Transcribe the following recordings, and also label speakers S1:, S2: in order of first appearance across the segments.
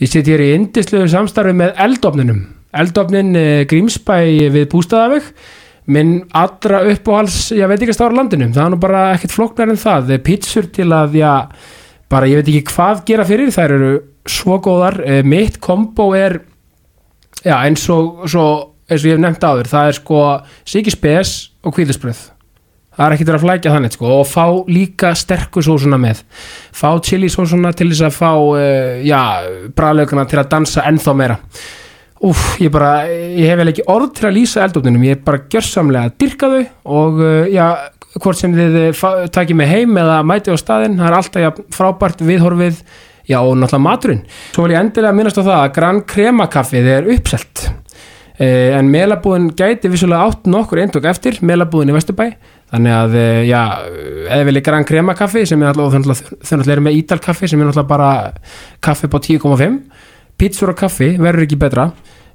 S1: Ég sitt hér í indislegu samstarfi með eldofninum. Eldofnin eh, Grímsbæ við Bústaðaveg, minn allra uppáhals, ég veit ekki að stára landinu. Það er nú bara ekkert flóknar en það. Eh, Pizzur til að, já, bara ég veit ekki hvað gera fyrir. Þær eru svo góðar. Eh, Mitt kombo er, já, eins og, svo, eins og ég hef nefnt áður, það er sko sikispes og kvíðisbröð. Það er ekkert verið að flækja þannig sko og fá líka sterku sósuna með fá chili sósuna til þess að fá uh, já, bræðlaugana til að dansa ennþá meira Úf, ég bara, ég hef vel ekki orð til að lýsa eldofninum, ég er bara gjörsamlega að dyrka þau og uh, já, hvort sem þið eh, fa- takið mig heim eða mætið á staðinn, það er alltaf já, frábært viðhorfið, já og náttúrulega maturinn. Svo vil ég endilega minnast á það að Gran Crema kaffið er uppselt Eh, en meilabúðin gæti vissulega átt nokkur eintök eftir meilabúðin í Vesturbæ þannig að, eh, já, eða vilja grann krema kaffi sem er alltaf, þau náttúrulega- þau náttúrulega eru með ítal kaffi sem er náttúrulega bara kaffi på 10,5 pítsur og kaffi verður ekki betra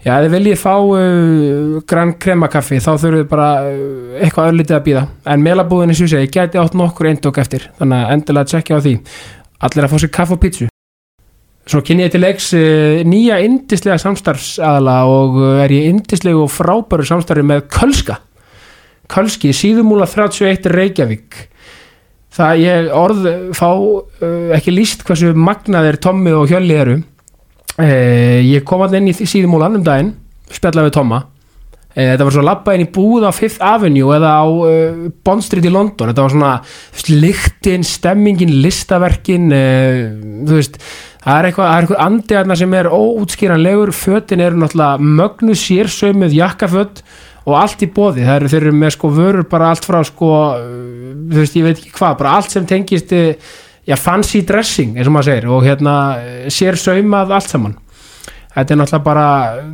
S1: já, eða viljið fá uh, grann krema kaffi þá þurfið bara uh, eitthvað örlítið að býða en meilabúðin í Sjúsegi gæti átt nokkur eintök eftir þannig að endilega tjekkja á því allir að fá sér kaffi og pítsu Svo kynni ég til leiks uh, nýja indislega samstarfsaðala og eh, er ég indislegu og frábæru samstarfi með Kölska. Kölski, síðumúla 31 Reykjavík. Það ég orð eh, fá uh, ekki líst hversu magnaðir Tommi og Hjölli eru. Uh, ég kom að inn í síðumúlan um daginn, spjalla við Tomma. Eh, Þetta var svo labba inn í búð á Fifth Avenue eða á uh, Bond Street í London. Þetta var svona þú veist, lyktin, stemmingin, listaverkin, uh, þú veist, það er eitthvað, það er eitthvað andi aðna sem er óútskýranlegur, fötin eru náttúrulega mögnu sér sömuð jakkaföt og allt í bóði. Það eru þeir eru með sko vörur bara allt frá sko, eh, þú veist, ég veit ekki hvað, bara allt sem tengist, eh, já, fancy dressing, eins og maður segir, og hérna eh, sér saumað allt saman þetta er náttúrulega bara,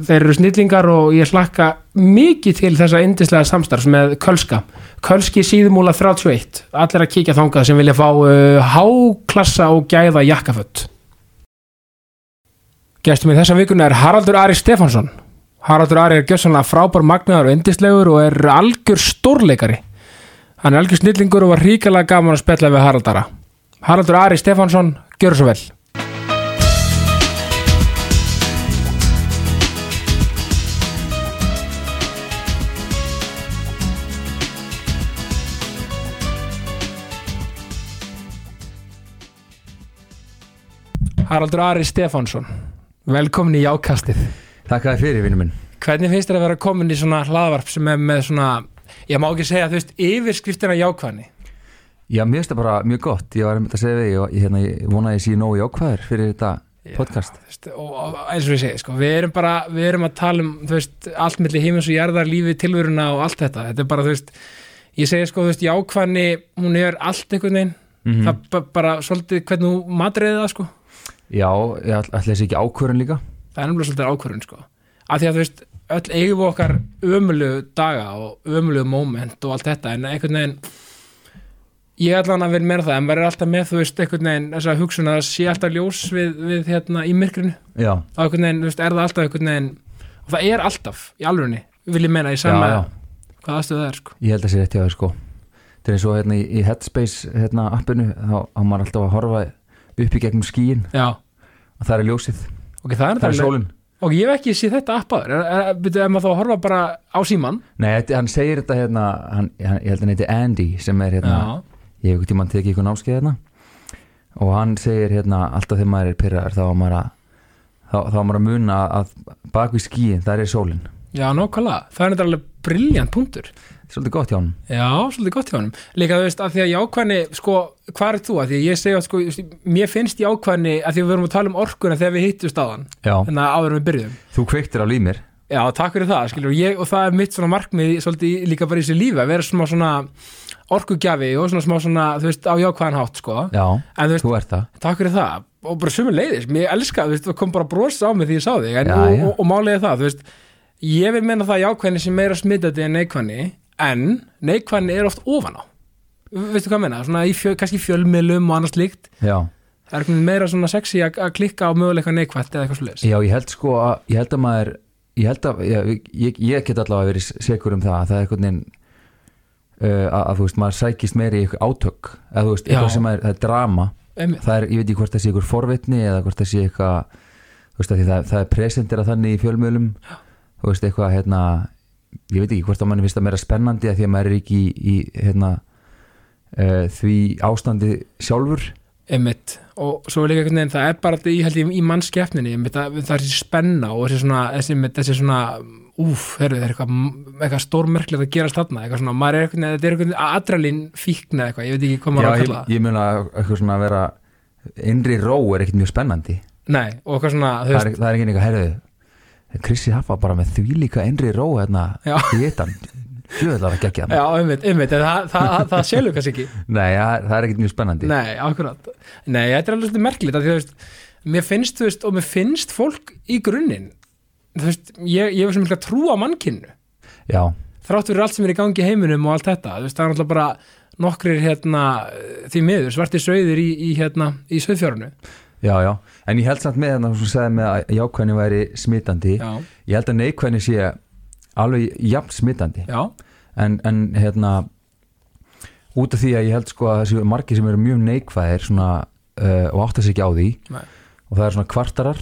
S1: þeir eru snillingar og ég slakka mikið til þessa yndislega samstarfs með Kölska Kölski síðumúla 31 allir að kíkja þangað sem vilja fá uh, háklassa og gæða jakkaföld Gestum í þessa vikuna er Haraldur Ari Stefansson Haraldur Ari er gjössanlega frábær magnaðar og yndislegur og er algjör stórleikari hann er algjör snillingur og var ríkalega gaman að spjalla við Haraldara Haraldur Ari Stefansson, gjör svo vel Haraldur Ari Stefansson Velkomin í jákastið
S2: Takk að þið fyrir, vinnum minn
S1: Hvernig finnst þér að vera komin í svona hlaðvarp sem er með svona Ég má ekki segja, þú veist, yfirskriftina jákvæðni
S2: Já, mér finnst það bara mjög gott Ég var einmitt að segja við Ég, ég, hérna, ég vona að ég sé nógu jákvæður fyrir þetta podcast
S1: Þú veist, og, og eins og ég segi, sko, við erum bara Við erum að tala um, þú veist, allt milli himins og jarðar Lífið, tilveruna og allt þetta Þetta er bara, þú veist, ég segi, sko, þú veist, jákvæðni Hún er allt einhvern veginn
S2: Mhm.
S1: Það ba bara, svolítið, hvernig þú matriði það, sko
S2: Já, ég ætla ætli þessi ekki ákvörun líka
S1: það er nefnilega svolítið ákvörðun sko af því að þú veist, öll eigum við okkar ömulegu daga og ömulegu moment og allt þetta, en einhvern veginn ég ætla hann að vera með það en maður er alltaf með, þú veist, einhvern veginn þess að hugsun að það sé alltaf ljós við, við hérna í myrkrinu,
S2: Já,
S1: þá einhvern veginn, þú veist, er það alltaf einhvern veginn, og það er alltaf í alvörunni, vil ég meina í
S2: já,
S1: sama
S2: já
S1: hvað aðstöðu það er, sko
S2: Ég held að sé rétt hjá þér sko Þetta er eins og hérna í, í Headspace hérna appinu þá á maður alltaf að horfa upp í gegnum skíin
S1: já,
S2: og það er ljósið,
S1: ok, það er,
S2: það er
S1: alveg-
S2: sólin
S1: ok, ég hef ekki séð þetta appaður, byrju, ef maður þá að horfa bara á síman,
S2: Nei, þetta, hann segir þetta hérna hann, hann, ég held að hann heiti Andy sem er hérna
S1: já,
S2: ég hef ekki tímann tekið ykkur námskeið hérna og hann segir hérna alltaf þegar maður er pyrraður þá á maður að þá, þá á maður að muna að bak við skíin þar er sólin,
S1: já, nákvæmlega það er þetta alveg briljant punktur
S2: Þetta er svolítið gott hjá hann
S1: Já, svolítið gott hjá honum. Líka þú veist, að því að jákvæðni, sko, hvað er þú? Að því að ég segja, sko, þú veist, mér finnst jákvæðni að því að við vorum að tala um orkuna þegar við hittust á hann,
S2: Já,
S1: þannig að áður en við byrjuðum.
S2: þú kveiktir á límir
S1: Já, takk fyrir það, skilur, ég, og það er mitt svona markmið í- svolítið í- líka bara í þessu lífi, að vera smá svona orkugjafi og svona smá svona, þú veist, á jákvæðan hátt, sko.
S2: Já,
S1: En þú veist,
S2: þú ert það
S1: takk fyrir það, og bara sumur leiðis, mér elska, þú veist, það kom bara bros á mig því ég sá þig, en,
S2: Já,
S1: og,
S2: já.
S1: og, og málið er það, þú veist, ég vil menna það jákvæðni sem meira smitandi en neikvæðni, en neikvæðni er oft ofan á. Veistu hvað ég meina? Svona í fjö, kannski fjölmiðlum og annars líkt,
S2: Já,
S1: það er einhvern veginn meira svona sexy að að klikka á möguleika neikvætt eða eitthvað svoleiðis.
S2: Já ég held sko að ég held að maður ég, held að, ég, ég, ég get allavega verið sekur um það að það er einhvern veginn uh, að, að þú veist maður sækist meiri í eitthvað átök eða þú veist,
S1: Já.
S2: eitthvað sem er, það er drama
S1: Einmitt.
S2: það er, ég veit ekki hvort það sé ykkur forvitni eða hvort það sé eitthvað þú þú veist, af því það, það er presentera þannig í fjölmjölum þú veist, eitthvað hérna ég veit ekki hvort að manni finnst það meira spennandi að því að maður er ekki í, í hérna uh, því ástandi sjálfur
S1: einmitt og svo er líka einhvern veginn það er bara í, held ég, í mannskeppninni einmitt, það, það er þessi spenna og þessi svona þessi, einmitt, þessi svona, úf, heyrðu, það er eitthvað eitthvað stórmerklegt að gerast þarna eitthvað svona, maður er einhvern veginn, þetta er einhvern veginn adralín fíkna eitthvað, ég veit ekki hvað maður á
S2: Já,
S1: að
S2: ég,
S1: kalla það
S2: ég mun að eitthvað svona að vera innri ró er ekkert mjög spennandi
S1: nei, og eitthvað svona, þú
S2: það er,
S1: veist,
S2: það er ekki einhver herðu Krissi Haffa bara með þvílíka innri ró hérna
S1: Já.
S2: í eittan fjöðlar að gegja hann
S1: já, einmitt, einmitt en það, það, það, það selur kannski ekki
S2: Nei, það, það er ekkert mjög spennandi
S1: Nei, akkurat. Nei, þetta er alveg svolítið merkilegt af því að þú veist, mér finnst, þú veist, og mér finnst fólk í grunninn, þú veist, ég, ég hef sem mikla trú á mannkynnu,
S2: Já,
S1: þrátt fyrir allt sem er í gangi í heiminum og allt þetta, þú veist, það er náttúrulega bara nokkrir hérna því miður, svartir sögðir í, í hérna, í söðfjörnu.
S2: já, já En ég held samt með þannig að þú segði með að jákvæðni væri smitandi
S1: Já,
S2: Ég held að neikvæðni sé alveg jafn smitandi
S1: já,
S2: en, en hérna út af því að ég held sko að þessi margir sem eru mjög neikvæðir svona, uh, og átta sig ekki á því
S1: Nei.
S2: og það er svona kvartarar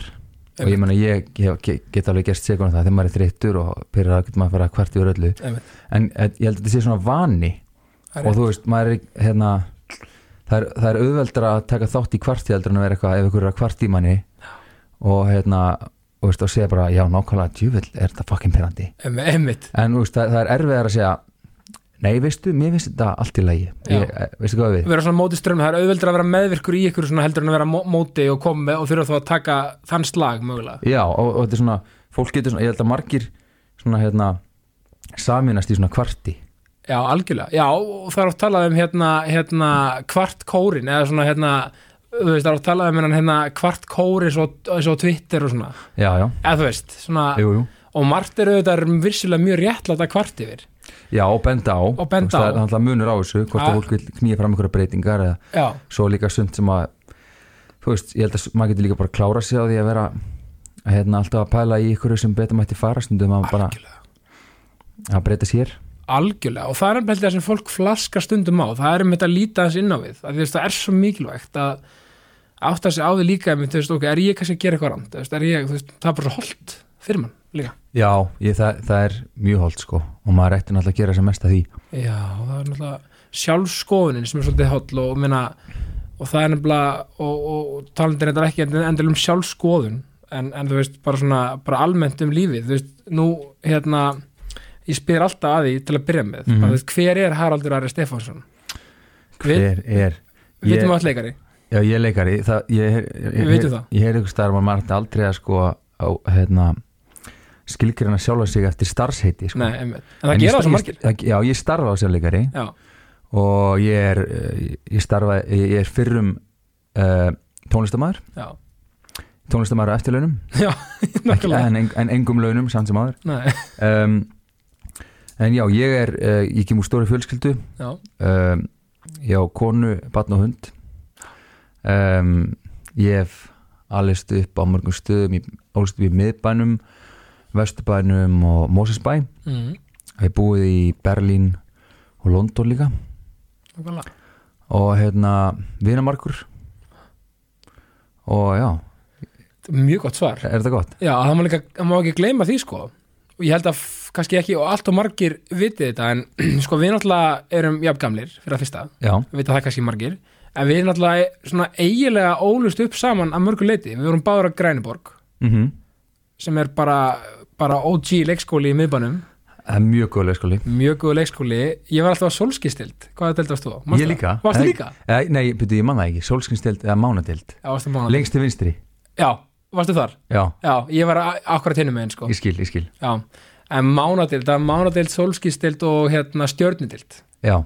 S2: og ég meina ég, ég ge- get alveg gerst segur um það þegar maður er þreyttur og pyrrar að getur maður að fara að kvarta yfir öllu
S1: einmitt.
S2: en eh, ég held að þetta sé svona vani
S1: Það er
S2: og þú veist, maður er hérna það er, það er auðveldra að taka þátt í kvarti heldur en að vera eitthvað ef ykkur er að kvarti í manni og hérna og veist, og segja bara, já, nákvæmlega djúvill er þetta fucking perandi
S1: Einmitt, einmitt.
S2: en þú veist, það, það er erfiðar að segja nei, veistu, mér finnst þetta allt í lagi
S1: Já.
S2: ég, eh, veistu hvað við
S1: Vera svona móti strömmu, það er auðveldur að vera meðvirkur í ykkur svona heldur en að vera mó- móti og koma með og þurfa þá að taka þann slag mögulega.
S2: já, og, og þetta er svona, fólk getur svona ég held að margir svona hérna saminast í svona kvarti
S1: Já, algjörlega. Já, og það er oft talað um hérna, hérna kvartkórin eða svona hérna, þú veist, það er oft talað um hérna, hérna kvartkóri eins og, eins og Twitter og svona.
S2: já, já,
S1: Eða þú veist, svona,
S2: jú, jú
S1: og margt eru þetta virsilega mjög réttlátt að kvart yfir.
S2: já, og benda á
S1: Og benda
S2: það er
S1: á.
S2: alltaf munur á þessu, hvort
S1: Ah.
S2: að fólk vil knýja fram einhverja breytingar eða
S1: Já,
S2: svo líka sumt sem að þú veist, ég held að s- maður getur líka bara að klára sig á því að vera að hérna, alltaf að pæla í ykkur sem betur mætti fara stundum að bara
S1: algjörlega.
S2: að breyta sér
S1: Algjörlega, og það er nefnilega það sem fólk flaskar stundum á, það er um þetta að líta þess inn á við, að þú veist, það er svo mikilvægt að átta sig á því líka, einmitt, þú veist, ok, er ég kannski að gera eitthvað rangt, Þú veist, er ég, þú veist, það er bara svo holt fyrir mann líka.
S2: já, ég, það, það er mjög holdt sko og maður ætti náttúrulega að gera sem mest að því
S1: Já, það er náttúrulega sjálfskoðunin sem er svolítið holl og, minna, og það er nefnilega og, og, og talandir þetta ekki endil um sjálfskoðun en, en þú veist, bara svona bara almennt um lífið, þú veist, nú hérna, ég spyr alltaf að því til að byrja með,
S2: Mhm.
S1: bara, þú veist, hver er Haraldur Ari Stefánsson? Við,
S2: er, er
S1: við vitum
S2: ég,
S1: öll leikari
S2: já, ég er leikari það, ég, ég, ég,
S1: Við vitum það.
S2: ég, ég er ykkur starf maður ætti aldrei að sko á, hérna, skilgrina sjálfa sig eftir starfsheiti sko.
S1: Nei, einmitt. en það
S2: En ég
S1: gera það
S2: sta-
S1: svo
S2: ég-
S1: margir
S2: það- já, ég starfa á sem leikari
S1: Já,
S2: og ég er, eh, ég starfa, ég ég er fyrrum uh, tónlistamæður,
S1: já,
S2: tónlistamæður á eftirlaunum,
S1: já,
S2: ekki,
S1: nákvæmlega
S2: en, en, en engum launum samt sem áður.
S1: Nei,
S2: Um, en já, ég er, uh, ég kem úr stóri fjölskyldu,
S1: já,
S2: um, ég á konu, barn og hund, um, ég hef alist upp á mörgum stöðum, ég álist upp í miðbænum, vesturbænum og Mosesbæ,
S1: mm,
S2: ég búið í Berlín og London líka.
S1: nákvæmlega
S2: og hérna vinamarkur og já,
S1: Mjög gott svar
S2: er þetta gott?
S1: Já, það má, líka, það má ekki gleyma því sko og ég held að f- kannski ekki og allt og margir vitið þetta en sko við náttúrulega erum jafngamlir fyrir að fyrsta,
S2: Já,
S1: vita það kannski margir en við náttúrulega svona eiginlega ólust upp saman að mörgu leiti, við vorum báður að Græniborg
S2: mm
S1: sem er bara, bara OG leikskóli í miðbænum,
S2: það er mjög góð leikskóli
S1: mjög góð leikskóli ég var alltaf að solskistild, hvaða delt varst þú? Manstu
S2: Ég
S1: það?
S2: líka
S1: Varstu
S2: Nei,
S1: líka?
S2: eh, Nei, byrju, ég manna ekki, sólskinstild eða mánadild
S1: Já, varstu mánuð
S2: Lengst til vinstri
S1: Já, varstu þar?
S2: Já,
S1: Já, ég var a- akkurat hinnum meginn sko
S2: ég skil, ég skil
S1: Já, en mánadild, það er mánadild, solskistild og hérna stjörnidild
S2: Já,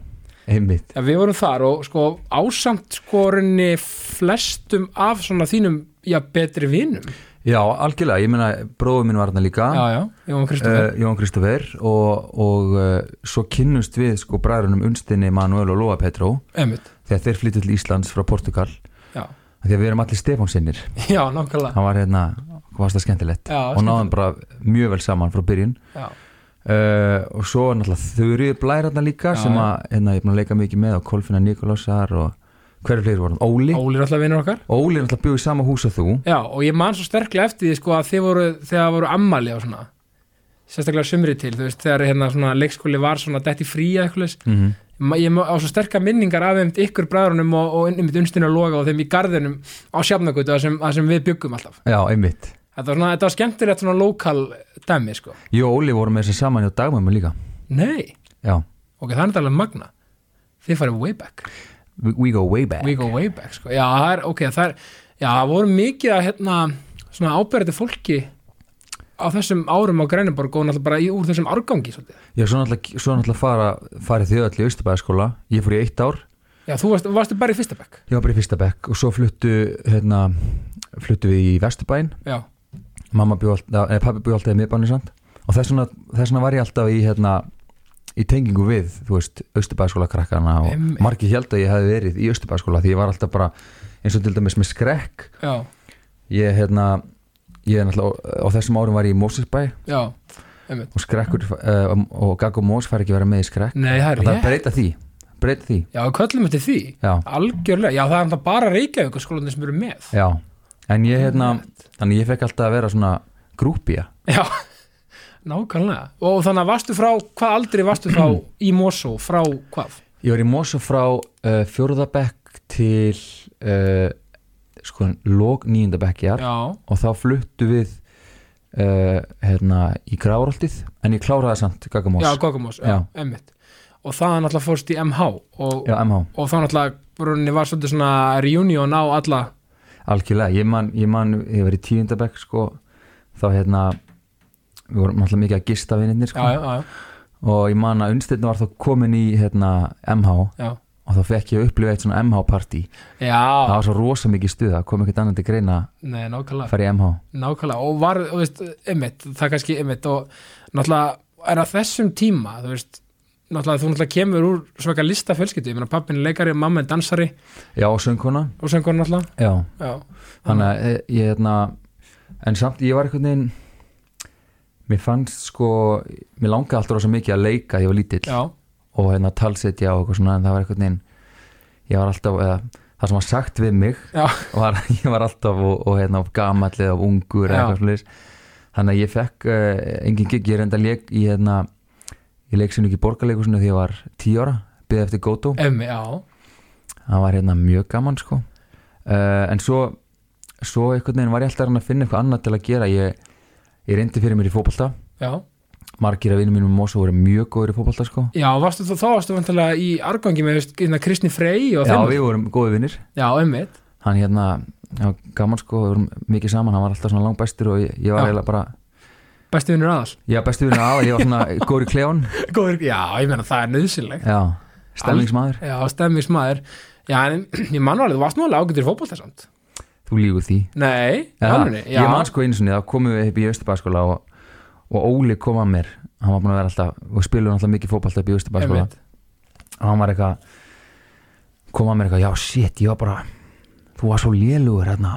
S2: einmitt
S1: Já, við vorum þar og sko ásamt sko rauninni flestum af svona þínum, já, betri vinum.
S2: Já, algjörlega, ég meina bróður minn var þarna líka
S1: Já, já, Jón Kristoffer.
S2: Uh, Jón Kristoffer og, og uh, svo kynnust við sko bræðrunum unstinni Manuel og Lóa Petró
S1: Einmitt,
S2: þegar þeir flyttu til Íslands frá Portugal
S1: já,
S2: Af því að við erum allir Stefánsinnir
S1: já, nákvæmlega.
S2: hann var hérna, hvað var það skemmtilegt
S1: Já,
S2: og náðum bara mjög vel saman frá byrjun
S1: Já,
S2: uh, og svo er náttúrulega Þurri Blær hérna líka
S1: Já,
S2: sem
S1: já.
S2: að hérna, ég er búin að leika mikið með og Kolfinna Nikolásar og hverju fleiri vorum? Óli?
S1: Óli er alltaf vinnur okkar
S2: Óli er náttúrulega bjóð í sama hús að þú
S1: Já, og ég man svo sterklega eftir því sko að þið voru, þegar það voru ammali á svona sérstaklega sumri til, þú veist, þegar hérna svona leikskóli var svona detti frí eða eitthvað leis.
S2: mm -hmm.
S1: Ma- ég ma- á svo sterka minningar af einmitt ykkur bræðrunum og, og einmitt unnstinu að loga og þeim í garðinum á sjafnagutu að sem, að sem við byggum alltaf
S2: Já, einmitt
S1: þetta var, svona, þetta var skemmtilegt svona lokal dæmi sko,
S2: Ég og Óli vorum með þessi saman hjá dagmæmi líka
S1: nei
S2: Já,
S1: ok, það er þetta alveg magna þið farið way back,
S2: we, we go way back
S1: we go way back sko. já, það er, ok, það er já, það voru mikið að hérna svona ábyrðandi fólki á þessum árum á Græniborg og náttúrulega bara í, úr þessum árgangi svolítið.
S2: Já, svo náttúrulega, svo náttúrulega fara, farið þið öll í Austurbæðaskóla Ég fór í eitt ár,
S1: já, þú varst, varstu bara í fyrsta bekk
S2: ég var bara í fyrsta bekk og svo fluttu, hérna, fluttu við í Vesturbæinn
S1: já,
S2: mamma bjó alltaf, eða pappi bjó alltaf í miðbænum samt og þess vegna, þess vegna var ég alltaf í hérna, í tengingu við, þú veist, austurbæðaskóla krakkana og
S1: Einmitt.
S2: margir held að ég hefði verið í austurbæðaskóla því ég var alltaf bara eins og til dæmis með skrekk
S1: já,
S2: ég, hérna, ég er náttúrulega á þessum árum var ég í Mósisbæ
S1: já einmitt.
S2: og skrekkur uh, og Gaggo Mós fær ekki að vera með í skrekk
S1: nei, það er
S2: og
S1: Mm.
S2: það
S1: rétt
S2: breyta því, breyta því
S1: já, við köllum eftir því
S2: já,
S1: Algjörlega, já það er náttúrulega bara Reykjavíkur skólanir sem eru með
S2: já, en ég hérna, þannig ég fekk alltaf að vera svona grúpía
S1: Já, nákvæmlega Og þannig að varstu frá, hvað aldrei varstu frá í Mosó, frá hvað?
S2: Ég var í Mosó frá uh, fjórðabekk til uh, sko, lók nýjundabekkiar
S1: Já,
S2: og þá fluttu við uh, hérna, í Grároltið en ég kláraði samt Gagamós
S1: já, Kokomós, já,
S2: Já.
S1: emmitt Og það er náttúrulega fórst í MH og,
S2: Já, MH,
S1: og þá náttúrulega rauninni var svolítið svona reunion á alla
S2: algjörlega ég man, ég man, ég var í tíundabekk sko, þá hérna við vorum alltaf mikið að gista vininir
S1: Já,
S2: sko,
S1: já, já,
S2: og ég man að unnstyrna var þá komin í hérna, MH
S1: já,
S2: og þá fekk ég að upplifa eitt svona MH-partí það
S1: já
S2: var svo rosa mikið stuð það kom ekkert annað til greina
S1: Nei, nákvæmlega
S2: að fara í MH
S1: Nákvæmlega, og var, þú veist, einmitt, það er kannski einmitt og náttúrulega er að þessum tíma, þú veist, náttúrulega þú náttúrulega kemur úr svaka lista fjölskyldu, ég meina pappin er leikari, mamma er dansari
S2: Já, og söngkona
S1: og söngur náttúrulega,
S2: Já,
S1: já,
S2: þannig að eh, ég hérna en samt ég var einhvern veginn mér fannst sko mér langaði alltaf rosa mikið að leika þegar ég var lítill
S1: já,
S2: og hérna talsetja og eitthvað svona en það var einhvern veginn ég var alltaf, eða það sem var sagt við mig
S1: Já.
S2: var að ég var alltaf og, og hérna gamall eða of ungur eða
S1: Já.
S2: eitthvað svona þannig að ég fekk uh, engin gig, ég reynda leik í hérna ég leik sem ekki borgarleikusinu því ég var tíu ára byggði eftir Goto
S1: emmi, já,
S2: það var hérna mjög gaman sko uh, en svo svo einhvern veginn var ég alltaf að reyna að finna eitthvað annað til að gera ég, ég reyndi fyrir mér í fótbolta
S1: já,
S2: margir af vinnum mínum í Mosó voru mjög góður í fótbolta sko
S1: já, varstu þú, þá varstu vantilega í argangi með, veist, hérna, Kristni Frey og
S2: já
S1: þeim,
S2: við vorum góði vinnir
S1: já, emmitt,
S2: hann hérna, já, gaman sko við vorum mikið saman, hann var alltaf svona langbæstur og ég, ég var
S1: Já.
S2: eiginlega bara,
S1: besti vinnur aðal,
S2: ég var bestu vinnur aða ég var svona góður í klejón,
S1: góður, já, ég meina það er nöðsynlegt,
S2: já, stemningsmaður
S1: já, stemmis maður, já, en ég mann alveg, þú varst nú alveg ágættur fótboltasamt,
S2: þú lígur því
S1: nei,
S2: Já,
S1: alveg, já,
S2: ég man sko einu sinni, þá komum við upp í Östurbæðaskóla og, og Óli kom að mér hann var búin að vera alltaf og spilur alltaf mikið fótballt upp í Östurbæðaskóla
S1: Einmitt.
S2: og hann var eitthvað kom að mér eitthvað, já shit, ég var bara þú var svo lélugur hérna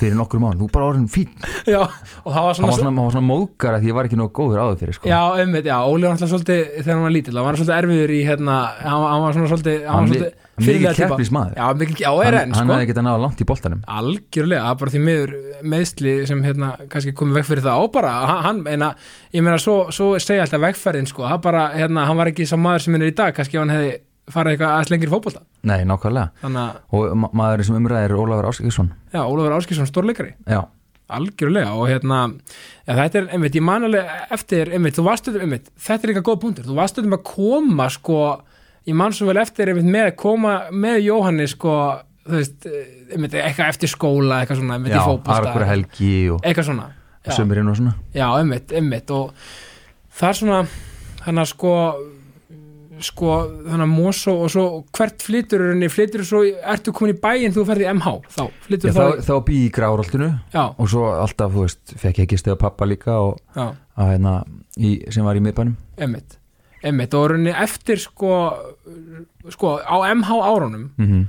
S2: fyrir nokkur mál, þú bara orðin fín hann
S1: já, og það var
S2: var
S1: svona,
S2: svona, hann var svona móðgar að ég var ekki nóg góður áður fyrir sko.
S1: Já, einmitt, já, Óli var alltaf svolítið þegar hann var lítill, hann var svolítið erfiður í hérna, hann, hann var svona svolítið hann var
S2: Hann mi-
S1: svolítið
S2: mikið
S1: fyrirlega týpa.
S2: keppnismaður.
S1: Já, mikil, já, er
S2: hann,
S1: enn,
S2: hann
S1: sko
S2: hefði getað náða langt í boltanum
S1: Algjörlega, það er bara því miður meðsli sem hérna kannski komið vekk fyrir það á bara, hann- hann, eina, ég meina svo, svo segja alltaf vekkferðin, sko, það bara hérna, hann var ekki sá maður sem hann er í dag, kannski ef hann hefði farið eitthvað aðeins lengir í fótbolta
S2: nei, nákvæmlega,
S1: Þannig að,
S2: og ma maðurinn sem umræðir er Ólafur Áskilsson
S1: já, Ólafur Áskilsson stórleikari
S2: já,
S1: algjörlega og hérna ja, þetta er einmitt, ég man alveg eftir einmitt, þú varst auðvitað einmitt, þetta er eitthvað góð punktur þú varst auðvitað að koma sko ég man svo vel eftir einmitt með að koma með Jóhanni sko þú veist, einmitt, eitthvað eftir skóla eitthvað svona, einmitt
S2: já
S1: í fótbolta
S2: Argur Helgi og
S1: eitthvað svona, já,
S2: sömurinn og svona
S1: já, einmitt, einmitt og það er svona þannig að sko sko, þannig að Mosó og svo hvert flytur henni, flytur svo ertu komin í bæinn þú ferði MH, þá
S2: já,
S1: flytur
S2: þá,
S1: þá,
S2: þá bý ég í grároltinu
S1: já,
S2: og svo alltaf, þú veist, fekk ég ekki stöða pappa líka og
S1: já
S2: að hérna, í, sem var í miðbænum
S1: Emmitt Emmitt og rauninni eftir sko sko á MH árunum
S2: mm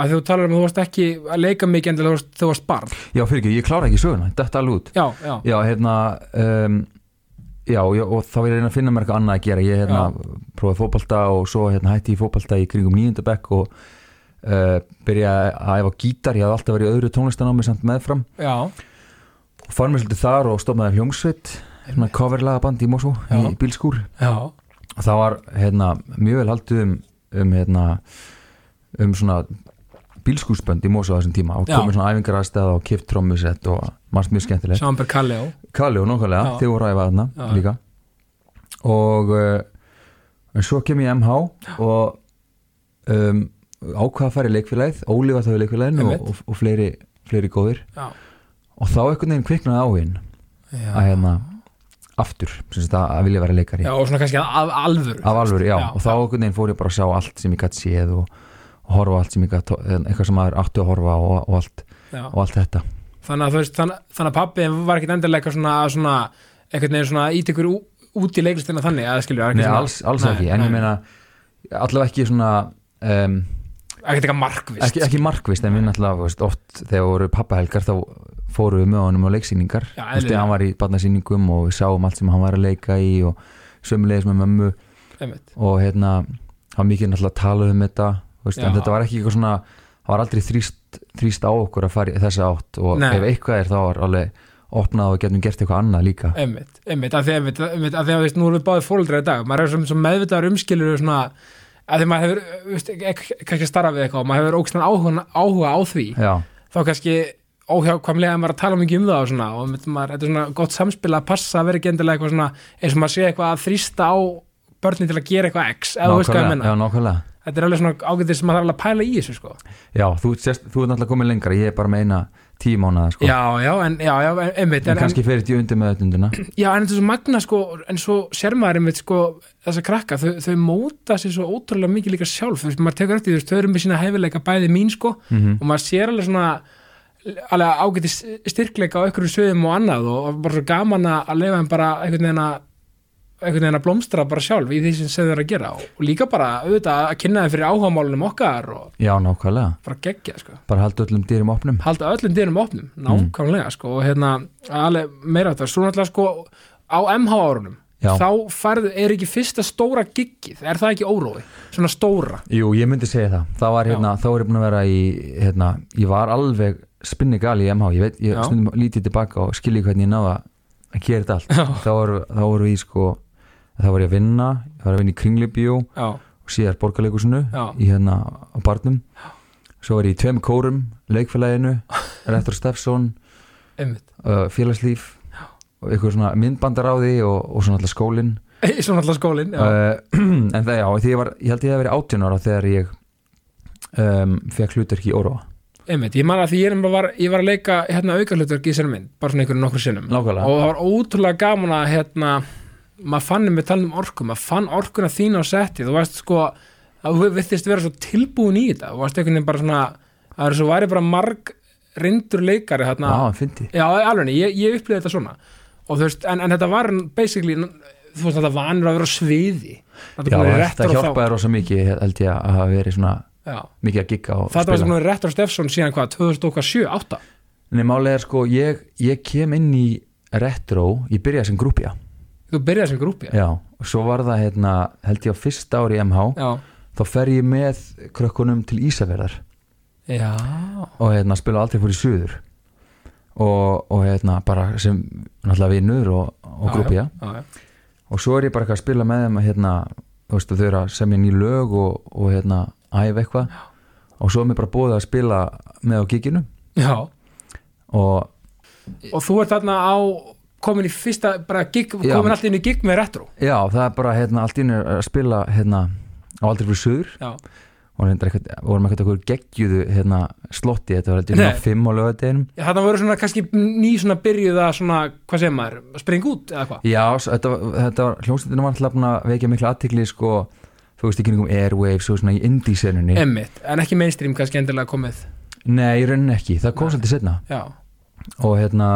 S1: að þú talar um að þú varst ekki að leika mikið endilega þú varst, þú varst barn
S2: já, fyrir ekki, ég klára ekki söguna, þetta alveg út
S1: Já, já,
S2: já, hérna um, já, já, og þá var ég að reyna að finna mér eitthvað annað að gera ég hérna, prófaði fótbalta og svo hérna, hætti ég fótbalta í kringum nýjöndabekk og uh, byrja að æfa á gítar, ég hafði alltaf verið í öðru tónlistanámi samt meðfram
S1: já,
S2: og fann mér svolítið þar og stofnaði hljómsveit svona coverlagaband í Mosó
S1: Já.
S2: í bílskúr
S1: já,
S2: og það var hérna, mjög vel haldið um, um, hérna, um svona bílskúrsbönd í Mosó á þessum tíma og
S1: Já.
S2: komið svona æfingar aðstæða og kipt trommusett og margt mjög skemmtilegt
S1: Sjáumber Kalli á
S2: Kalli og
S1: Já.
S2: nákvæmlega, þið voru að æfa þarna
S1: Já.
S2: líka og uh, en svo kem ég í MH og um, ákvað að fara í leikfélagið Óli var það í leikfélaginu og,
S1: Einmitt.
S2: og, og fleiri, fleiri góðir
S1: já,
S2: og þá einhvern veginn kviknaði áhugin
S1: já.
S2: að hérna aftur, sem sagt að, að vilja vera leikari
S1: já og svona kannski af alvöru
S2: af alvöru, já,
S1: Já.
S2: og þá einhvern veginn fór ég bara að sjá allt sem ég gætt séð og, og horfa á allt sem ég gætt, eitthvað sem maður áttu að horfa á og, og, allt,
S1: já.
S2: og allt þetta
S1: þannig að þú veist þannig, þannig að pappi var ekkit endilega eitthvað svona, svona einhvern veginn svona ít ykkur ú- út í leiklistina þannig að skilur
S2: Nei, alls, alls ekki, en ég meina allavega ekki svona um,
S1: ekkert eitthvað markvist
S2: ekki, ekki markvist en við náttúrulega veist, oft þegar voru pappahelgar þá fóru við með honum á leiksýningar
S1: Já,
S2: Þú veist, þegar hann var í barnasýningum og við sáum allt sem hann var að leika í og sömulegis með mömmu
S1: einmitt.
S2: og hérna hann mikið náttúrulega talað um þetta þú veist, en
S1: Já.
S2: þetta var ekki eitthvað svona það var aldrei þrýst, þrýst á okkur að fara í þessa átt og
S1: Nei.
S2: ef eitthvað er þá var alveg opnað og getum gert eitthvað annað líka
S1: einmitt, einmitt, að því einmitt, einmitt að því að veist, nú erum við báðið fóreldrar í dag maður er svo, svo meðvitaður umskilur svona, að því maður hefur, veist, ek- ek- kannski að starfa við eitthvað og maður hefur ógstæðan áhuga, áhuga á því
S2: já,
S1: þá kannski óhjákvæmlega að maður er að tala mikið um það og, svona, og einmitt maður, þetta er svona gott samspil að passa að vera ekki endilega eitthvað svona eins og maður sé eitthvað að þrýsta á börnin til að gera eitthvað x eða þú veist hvað ég
S2: nákvæmlega,
S1: menna,
S2: já, nákvæmlega.
S1: þetta er alveg svona ágætið sem maður þarf alveg að pæla í þessu sko.
S2: já þú, ert sérst, þú er náttúrulega komin lengra, ég er bara með eina tíu mánuða sko.
S1: já, já, en, já, já, en- einmitt en,
S2: en
S1: en,
S2: kannski fyrir tíu undir með öllundina
S1: Já, en þetta er svo magna sko, en svo sér maður einmitt sko, þessa krakka, þau, þau móta sér svo ótrúlega mikið líka sjálf, þú veist, maður tekur eftir, þú veist, þau eru með sína hefileika bæði mín sko,
S2: Mhm.
S1: og maður sér alveg svona alveg ágæti styrkleika á einhverjum sviðum og annað og, og bara svo gaman að að leifa þeim bara einhvern veginn að einhvern veginn að blómstra bara sjálf í því sem sem þau eru að gera og, og líka bara auðvitað að kynna þeim fyrir áhugamálunum okkar og
S2: Já, nákvæmlega,
S1: bara gegja sko
S2: bara halda öllum dýrum opnum
S1: halda öllum dyrum opnum, nákvæmlega sko, og hérna, alveg meira þetta svo náttúrulega sko, á MH árunum
S2: Já.
S1: þá færðu, er ekki fyrsta stóra giggið, er það ekki órói svona stóra,
S2: Jú, ég myndi segja það, það var hérna, þá er ég búin að vera í hérna, ég var alveg spinni gali í MH, ég veit, ég
S1: Já.
S2: stundum lítið tilbaka og skilji hvernig ég náða að gera þetta allt,
S1: Já.
S2: þá voru, þá voru við sko þá var ég að vinna, ég var að vinna í Kringlibjó og
S1: já,
S2: síðar borgarleikusinu
S1: Já.
S2: í hérna á barnum svo var ég í tveim kórum, leikfélaginu Rettur Steffsson,
S1: einmitt
S2: uh, félagslíf og eitthvað svona myndbandaráði og, og svona alltaf skólinn
S1: svo náttúrulega skólinn, já,
S2: uh, en það já, því ég var ég held ég að vera 18 ára þegar ég um, fekk hlutverk í Óróa
S1: einmitt, ég man að því ég, nefnilega var, ég var að leika hérna aukahlutverk í sér mynd, bara svona einhverjum nokkur sinnum
S2: nákvæmlega,
S1: og það var ótrúlega gaman að hérna, maður fann með talum orku maður fann orkuna þína á setti þú veist sko, að þú vittist vera svo tilbúin í þetta, þú veist einhvern veginn bara svona það er svo væri bara marg rindur leikari hérna,
S2: á, fyndi
S1: já alveg, ég, ég upplýði þetta svona og þú veist, en, en þetta var basically, þú veist þetta vanur að vera á sviði
S2: já,
S1: komið
S2: þetta
S1: réttar og þá-
S2: hjálpaði rosa mikið held ég að hafa verið svona
S1: Já.
S2: mikið að gigga og
S1: þetta var sem
S2: spila
S1: nú réttur Stefson síðan hvað 2007, 8
S2: en málega er sko, ég, ég kem inn í retro, ég byrjaði sem grúpja
S1: þú byrjaði sem grúpi
S2: já, og svo var það hérna, held ég á fyrst ári í MH,
S1: já,
S2: þá fer ég með krökkunum til Ísafjörðar
S1: já.
S2: og hérna spila aldrei fór í suður og, og hérna bara sem náttúrulega vinnur og, og grúpja
S1: já, já.
S2: og svo er ég bara eitthvað að spila með þeim hérna, þú veist, þau eru að semja ný lög og, og hérna, æfa eitthvað og svo er mér bara búið að spila með á giginu
S1: já.
S2: og
S1: og þú ert þarna á komin í fyrsta, bara gig,
S2: Já.
S1: komin alltaf inn í gig með retro
S2: já, það er bara hérna, allt í einu að spila hérna, á aldrei fyrir suður
S1: já,
S2: og reyndar eitthvað, vorum eitthvað okkur geggjuðu hérna, slotti, þetta var heldur
S1: Nei.
S2: hérna fimm á lögadeginum
S1: þarna voru svona kannski ný svona byrjuð að svona, hvað segir maður, springa út eða hvað,
S2: Já, s- þetta, var- þetta var hljómsveitinu var alltaf búin að vekja mikla aðtikli sko, þú veist, í kringum Airwaves og svona í indie-senunni.
S1: emmitt en ekki mainstream kannski endilega komið
S2: Nei, í rauninni ekki, það kom svolítið setna
S1: já,
S2: og hérna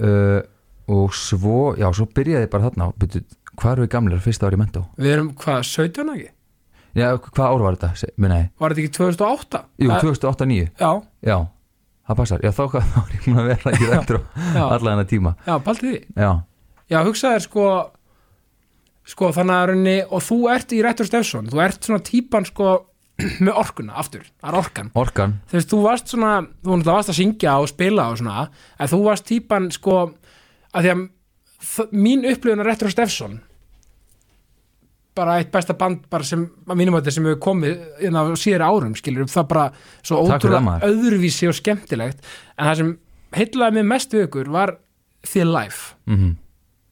S2: uh, og svo, já, svo byrjaði ég bara þarna og byrju, hvað eru við gamlir fyrsta ári í mentó?
S1: við erum hvað, 17 ekki
S2: Já, hvað ár var þetta? Se- Muna ég,
S1: var þetta ekki 2008?
S2: jú,
S1: Eh,
S2: 2008-2009
S1: já,
S2: Já, það passar, já, þá hvað- þá var ég búin að vera ekki þetta
S1: já,
S2: allan þennan tíma
S1: já, paldið því
S2: Já,
S1: já, hugsaðir sko sko þannig að raunni og þú ert í retro Stefson, þú ert svona típan sko með orkuna aftur, það er orkan
S2: orkan
S1: þú veist, þú varst svona, þú náttúrulega varst að syngja og spila og svona, en þú varst típan sko, að því að þ- mín upplifun að Retro Stefson bara eitt besta band bara sem, að mínum að þetta sem hefur komið inn á síðari árum, skilur það bara svo
S2: Takk fyrir það,
S1: ótrúlega
S2: maður.
S1: öðruvísi og skemmtilegt en það sem heillaði mig mest við ykkur var þið life
S2: mm -hmm.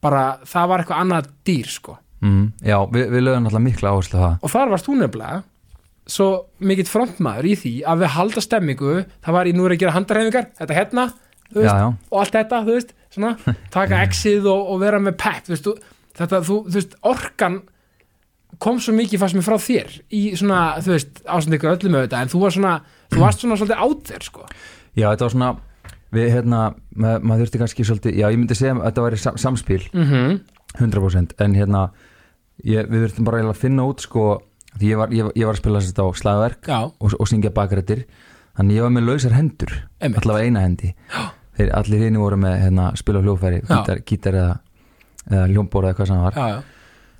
S1: bara það var eitthvað annað dýr sko
S2: mhm. já, við, við lögum alltaf mikla áherslu á það
S1: og þar varst hún nefnilega svo mikill frontmaður í því að við halda stemmingu, það var í nú er að gera handarhefingar, þetta hérna þú
S2: já,
S1: veist,
S2: já,
S1: og allt þetta, þú veist svona, taka exið og, og vera með pep þú veist, þú- þetta, þú, þú veist, orkan kom svo mikið fannst mér frá þér í svona, þú veist, ásamt ykkur öllum auðvitað, en þú var svona, þú varst svona svolítið át þér, sko,
S2: já, þetta var svona við, hérna, ma maður þurfti kannski svolítið já, ég myndi segja að þetta væri sam samspil
S1: mm
S2: 100% en hérna, ég, við þurftum bara eiginlega að finna út sko, því ég var, ég, var- ég var að spila þetta á slagverk
S1: já,
S2: og, og syngja bakrættir þannig ég var með lausar hendur
S1: einmitt
S2: allavega eina hendi Þeir, allir hinn voru með hérna, spila á hljófæri
S1: Já.
S2: gítar, gítar eða, eða hljómbor eða hvað sem það var
S1: já, já,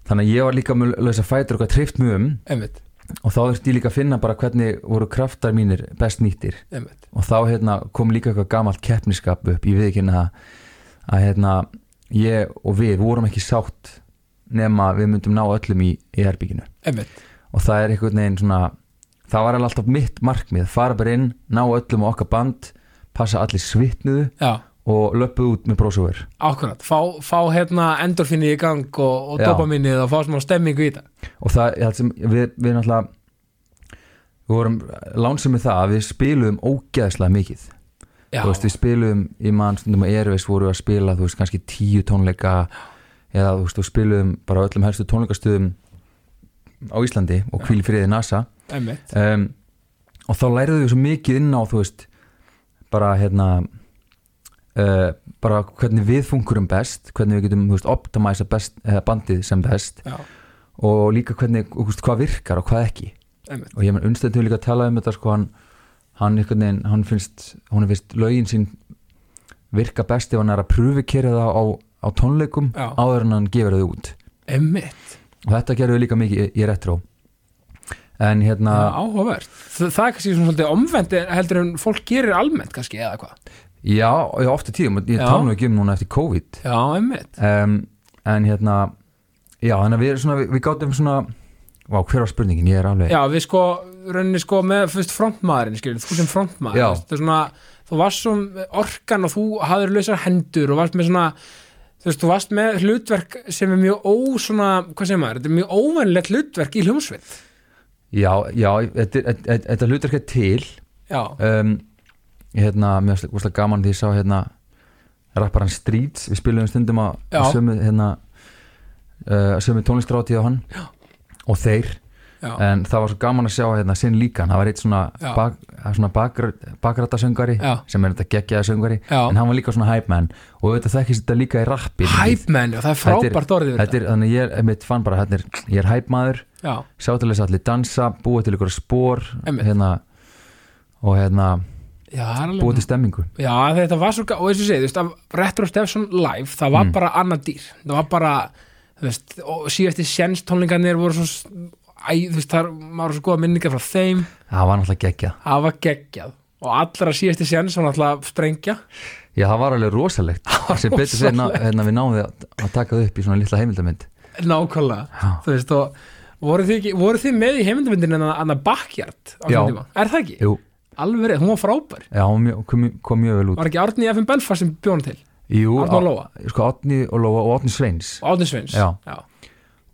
S2: þannig að ég var líka með lausa fætur og hvað trift mjög um
S1: einmitt,
S2: og þá þurfti ég líka að finna bara hvernig voru kraftar mínir best nýttir
S1: einmitt
S2: og þá hérna, kom líka eitthvað gamalt keppniskap upp ég við ekki hérna að hérna, ég og við vorum ekki sátt nema við myndum ná öllum í, í herbygginu
S1: einmitt,
S2: og það er einhvern veginn svona það var alveg alltaf mitt markmið fara bara inn, ná öllum á okkar band passa allir svitnuðu
S1: já,
S2: og löpuðu út með brósöfur
S1: ákvörðan fá, fá hérna endorfinni í gang og, og
S2: Já.
S1: dopaminnið og fá smá stemmingu í þetta
S2: og það, það sem við, við náttúrulega við vorum lánsum með það að við spiluðum ógeðslega mikið
S1: Já,
S2: þú veist, við spiluðum í mann stundum að Erfis voru að spila, þú veist, kannski tíu tónleika eða þú veist, við spiluðum bara á öllum helstu tónleikastöðum á Íslandi og kvíl friði NASA
S1: einmitt
S2: um, og þá læriðu við svo mikið inn á þú veist, bara hérna uh, bara hvernig við funkurum best, hvernig við getum þú veist, optimæsa best, eh, bandið sem best
S1: Já,
S2: og líka hvernig, þú veist, hvað virkar og hvað ekki
S1: einmitt,
S2: og ég menn unnstættu líka að tala um þetta sko, hann, hann einhvern veginn, hann finnst hún finnst lögin sín virka best ef hann er að pröfukera það á, á tónleikum
S1: Já.
S2: áður en hann gefur það út
S1: einmitt
S2: og þetta gerðu við líka mikið í, í retro en hérna
S1: Já, áhugavert Þa, Það er kannski svona svolítið omvend heldur en fólk gerir almennt kannski eða hvað
S2: já, já ofta tíðum, ég
S1: Já.
S2: tala nú ekki um núna eftir COVID
S1: Já, einmitt
S2: um, en hérna já, þannig að við, svona, við, við gátum svona vá, hver var spurningin, ég er alveg
S1: Já, við sko, rauninni sko með fyrst frontmaðurinn, skilur, þú sem frontmaður
S2: Já.
S1: þú veist, það er svona, þú varst svo orkan og þú hafður lausar hendur og varst með svona þú veist, þú varst með hlutverk sem er mjög ó, svona, hvað segir maður, þetta er mjög óvenlegt hlutverk í hljómsveit
S2: já, já þetta, þetta, þetta, þetta hlutur ekki til
S1: Já,
S2: um, hérna, mér finnst úrslega gaman því ég sá hérna rapparan Streets, við spilum stundum á
S1: Já.
S2: á sömu hérna uh, sömu tónlistráti á hann Já. og þeir,
S1: já,
S2: en það var svo gaman að sjá hérna sinn líkan, það var eitt svona,
S1: Já.
S2: bak, svona bakrættasöngari
S1: Já.
S2: sem er þetta geggjaða söngari
S1: Já.
S2: en hann var líka svona hype man og auðvitað þekkist þetta líka í rappi
S1: Hype man, já, það er
S2: Þetta er-
S1: frábært orðið
S2: Þetta er, þannig ég er mitt fann bara, hérna er, ég er hype maður
S1: Já,
S2: sjá til þess að allir dansa, búa til ykkur spór
S1: Einmitt.
S2: hérna og hérna
S1: já, það er alveg
S2: búa til stemmingu
S1: Já, þetta var svo gæ- og eins og ég segi, þú veist, af Retro Stefson live það
S2: Mm.
S1: var bara annað dýr, það var bara þú veist, og síðasti sjenstónlingarnir voru svo, s- æ, þú veist þar var svo góða minningar frá þeim
S2: Það var náttúrulega geggjað.
S1: það var geggjað og allra síðasti sjens var náttúrulega sprengja
S2: Já, það var alveg rosalegt. Sem betur segir ná- hérna við náðum að, að taka það upp í svona litla heimildamynd.
S1: nákvæmlega,
S2: Já.
S1: þú veist og voru þið, ekki, voru þið með í heimindamindin en að bakkjart á
S2: Já.
S1: þessum tíma, er það ekki?
S2: Jú,
S1: alveg verið, hún var frábær,
S2: já, hún mjö- kom, mjö- kom mjög vel út.
S1: var ekki Árni FM Belfast sem bjóna til,
S2: Jú,
S1: Árni og
S2: á-
S1: Lóa
S2: sko, Átni og Lóa og Átni Sveins.
S1: og Árni Sveins
S2: Já.
S1: Já.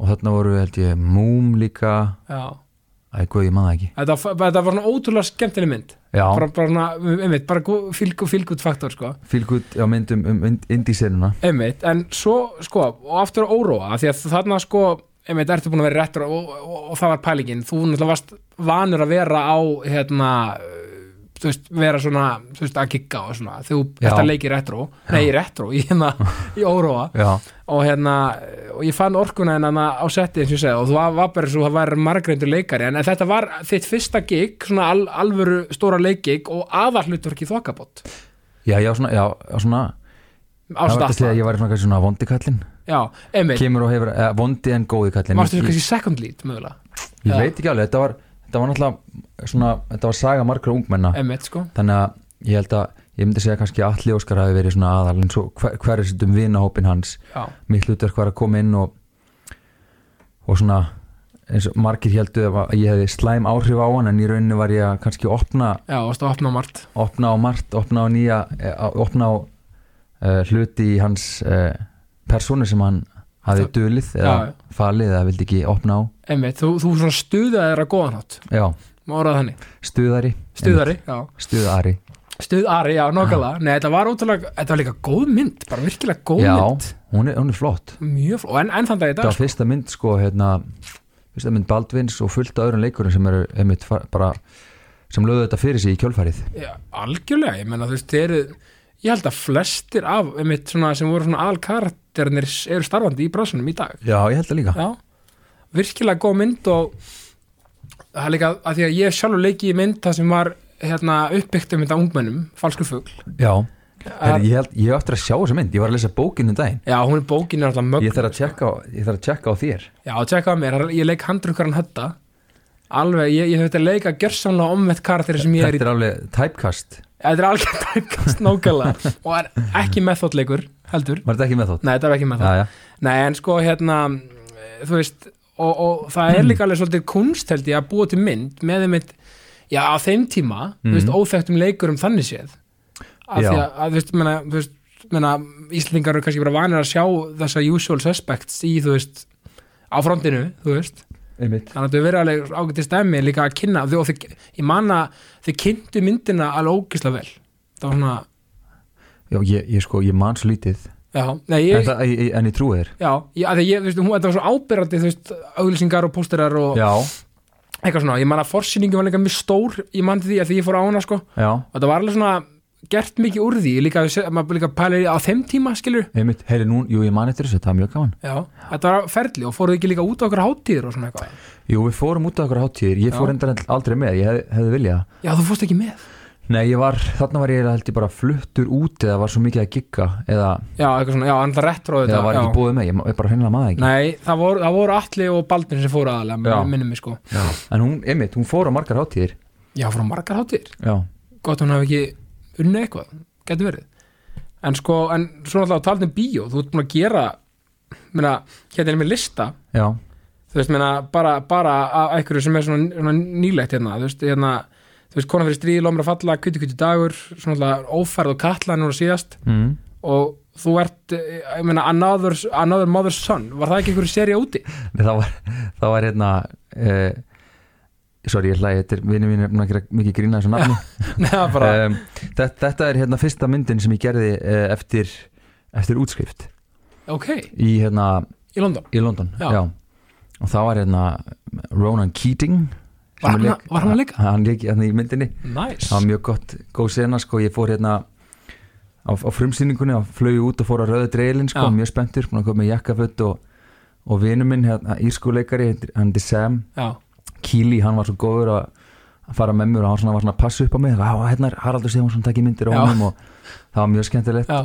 S2: Og þarna voru, held ég, Múm líka.
S1: Já.
S2: Æ, guð, ég maður ekki.
S1: Þetta, þetta var svona ótrúlega skemmtileg mynd
S2: Já,
S1: bara, bara, svona, einmitt, bara gó- fylg, fylgut faktor sko.
S2: fylgut á myndum um indísenuna.
S1: einmitt, en svo sko, og aftur að óróa, af því að þarna sko, einmitt, ertu búin að vera réttur og, og, og, það var pælingin, þú náttúrulega varst vanur að vera á hérna, uh, þú veist, vera svona þú veist, að gigga og svona, þú
S2: Já.
S1: ert að leika í réttró, nei, í réttró, í hérna í óróa,
S2: Já,
S1: og hérna og ég fann orkuna hérna á setti eins og ég segi, og þú var, var bara svo, það var margreindur leikari, en, en þetta var þitt fyrsta gig, svona al, alvöru stóra leikgig og aðallutverki þokkabót
S2: já, já, svona, já, já, svona. Það var þetta að segja að
S1: ástæða,
S2: ég var svona, kannski svona vondi kallinn.
S1: já, einmitt
S2: Kemur og hefur, eh, vondi en góði kallinn.
S1: Varstu þú
S2: Ég-
S1: kannski second lead mögulega?
S2: Ég
S1: Já.
S2: veit ekki alveg, þetta var, þetta þetta var náttúrulega svona, þetta var saga margra ungmenna
S1: Emmett sko
S2: þannig að ég held að ég myndi segja kannski að Alli Óskar hafi verið svona aðal en svo hver, hver er sittum vinahópin hans
S1: Já,
S2: mitt hlutverk var að koma inn og og svona eins og margir heldu að ég hefði slæm áhrif á hann en í rauninu var ég að kannski opna
S1: já, varstu að opna margt
S2: opna á margt, opna á nýja eh, á- opna á uh, hluti í hans uh, persónu sem hann hafi
S1: Það-
S2: dulið eða
S1: Já.
S2: falið eða vildi ekki opna á
S1: Emmett, þú, þú svona stuðaði þér að góðan hátt
S2: já,
S1: Má orðað þannig,
S2: stuðari
S1: stuðari já.
S2: Einmitt, stuðari,
S1: Stuðari, já, nokkulega Nei, þetta var ótrúlega, þetta var líka góð mynd Bara virkilega góð
S2: já,
S1: mynd
S2: hún er, hún er flott
S1: Mjög fló, en, en þann dag í
S2: þetta
S1: dag
S2: var fyrsta mynd sko hérna, fyrsta mynd Baldvins og fullt af öðrum leikurum sem eru einmitt fa- bara sem lögðu þetta fyrir sig í kjölfarið
S1: já, Algjörlega, ég menna þú veist, þeir eru Ég held að flestir af, einmitt svona sem voru svona alkarakternir eru starfandi í bransunum í dag
S2: já, ég held það líka
S1: Já, virkilega góð mynd og það er líka að því að ég sjálfur leiki í mynd það sem var hérna uppbyggt um þetta ungmennum, falskur fugl
S2: já, Herri, ég, held, ég á eftir að sjá þessa mynd ég var að lesa bókinu um daginn
S1: Já, hún er bókin er alltaf mögn
S2: ég þarf að tjekka á- ég þarf að tjekka á þér
S1: Já, tjekka á mér, ég leik handrukkaran hötta Alveg, ég, ég þetta leika gjörsamlega omvett karakter sem ég er í
S2: þetta er alveg typecast
S1: Þetta er algjörn tæmkast nákvæmlega og er ekki meðþóttleikur, heldur
S2: Var þetta ekki með þótt?
S1: Nei, þetta er ekki meðþótt
S2: Já, já.
S1: Nei, en sko, hérna, eh, þú veist og, og það er líka alveg svolítið kunst held ég að búa til mynd með einmitt já, á þeim tíma, þú veist, óþekktum leikurum þannig séð af
S2: Mhm. Já.
S1: því að, að þú veist, menna, þú veist menna, Íslendingar eru kannski bara vanir að sjá þessa usual suspects í, þú veist á frontinu, þú veist
S2: Einmitt.
S1: þannig að þau verið alveg ágætið stæmi líka að kynna þau, og þau, ég man að þau kynntu myndina alveg ógislega vel það var svona,
S2: Já, ég, ég sko, ég man svo lítið
S1: já, nei
S2: en,
S1: ég,
S2: það, ég, ég- en ég trúi þér
S1: já, ég, að því ég, þú veist, hún, þetta var svo ábyrrandi, þú veist, auglýsingar og pósterar og
S2: Já,
S1: eitthvað svona, ég man að forsýningin var líka mjög stór, ég man til því að því ég fór á hana sko,
S2: já,
S1: og þetta var alveg svona gert mikið úr því, líka, að se- maður líka pælir í- á þeim tíma, skilur,
S2: einmitt, heyri nú, jú, ég man eftir þessu, það er mjög gaman
S1: já þetta var ferli og fóruð ekki líka út á okkur hátíður og svona eitthvað,
S2: Jú, við fórum út á okkur hátíðir, ég fór
S1: Já.
S2: enda aldrei með, ég hef, hefði viljað
S1: já, þú fórst ekki með
S2: Nei, ég var, þarna var ég held ég bara fluttur út eða var svo mikið að gigga eða,
S1: já, eitthvað svona, já, annað retro
S2: eða var
S1: já.
S2: ekki búið með, ég, ma- ég bara hennilega maður ekki
S1: Nei, það voru, það voru Atli og Baldin sem fóru aðalega,
S2: Já.
S1: minnum mig sko
S2: já. En hún, einmitt, hún fór á margar hátíðir
S1: Já, frá margar hátir,
S2: Já,
S1: gott hún hafi ekki unnið eitthvað, getur verið En sko, en svona alltaf talað um bíó, þú ert búin að gera meina, hérna er mér lista
S2: já,
S1: þú veist, meina, bara, bara að einhverju sem er svona, svona nýlegt hérna, þú veist, hérna þú veist, kona fyrir stríð, lómur að falla, kviti kviti dagur svona alltaf ófærð og kalla núna síðast
S2: mm.
S1: og þú ert, eh, ég meina, another, another mother's son, var það ekki einhverju serið úti?
S2: Nei, það var, það var hérna uh, Sorry, ég hlæði, þetta er vinur mín er búinn að gera mikið grína þessu nafni
S1: Nei, það bara,
S2: um, þetta, þetta er hérna fyrsta myndin sem ég gerði uh, eftir, eftir útskrift Eh.
S1: ok,
S2: í, hérna,
S1: í London
S2: í London
S1: Já.
S2: og það var hérna Ronan Keating sem
S1: Var hann að-
S2: leik-
S1: var hann að leika?
S2: Hann leik hérna í myndinni
S1: Nice
S2: það var mjög gott, góð sena sko ég fór hérna á, á frumsýningunni og flög út og fór að rauða dreilin sko,
S1: Já.
S2: mjög spenntur, búin að koma með jakkaföt og, og vinur minn, hérna, írskuleikari hann er Sam
S1: Já,
S2: Kíli, hann var svo góður að að fara með mér og hann svona var svona að passa upp á mig og hérna er Haraldur Sigmundsson takkir myndir á
S1: Já.
S2: honum og það var mjög skemmtilegt
S1: já,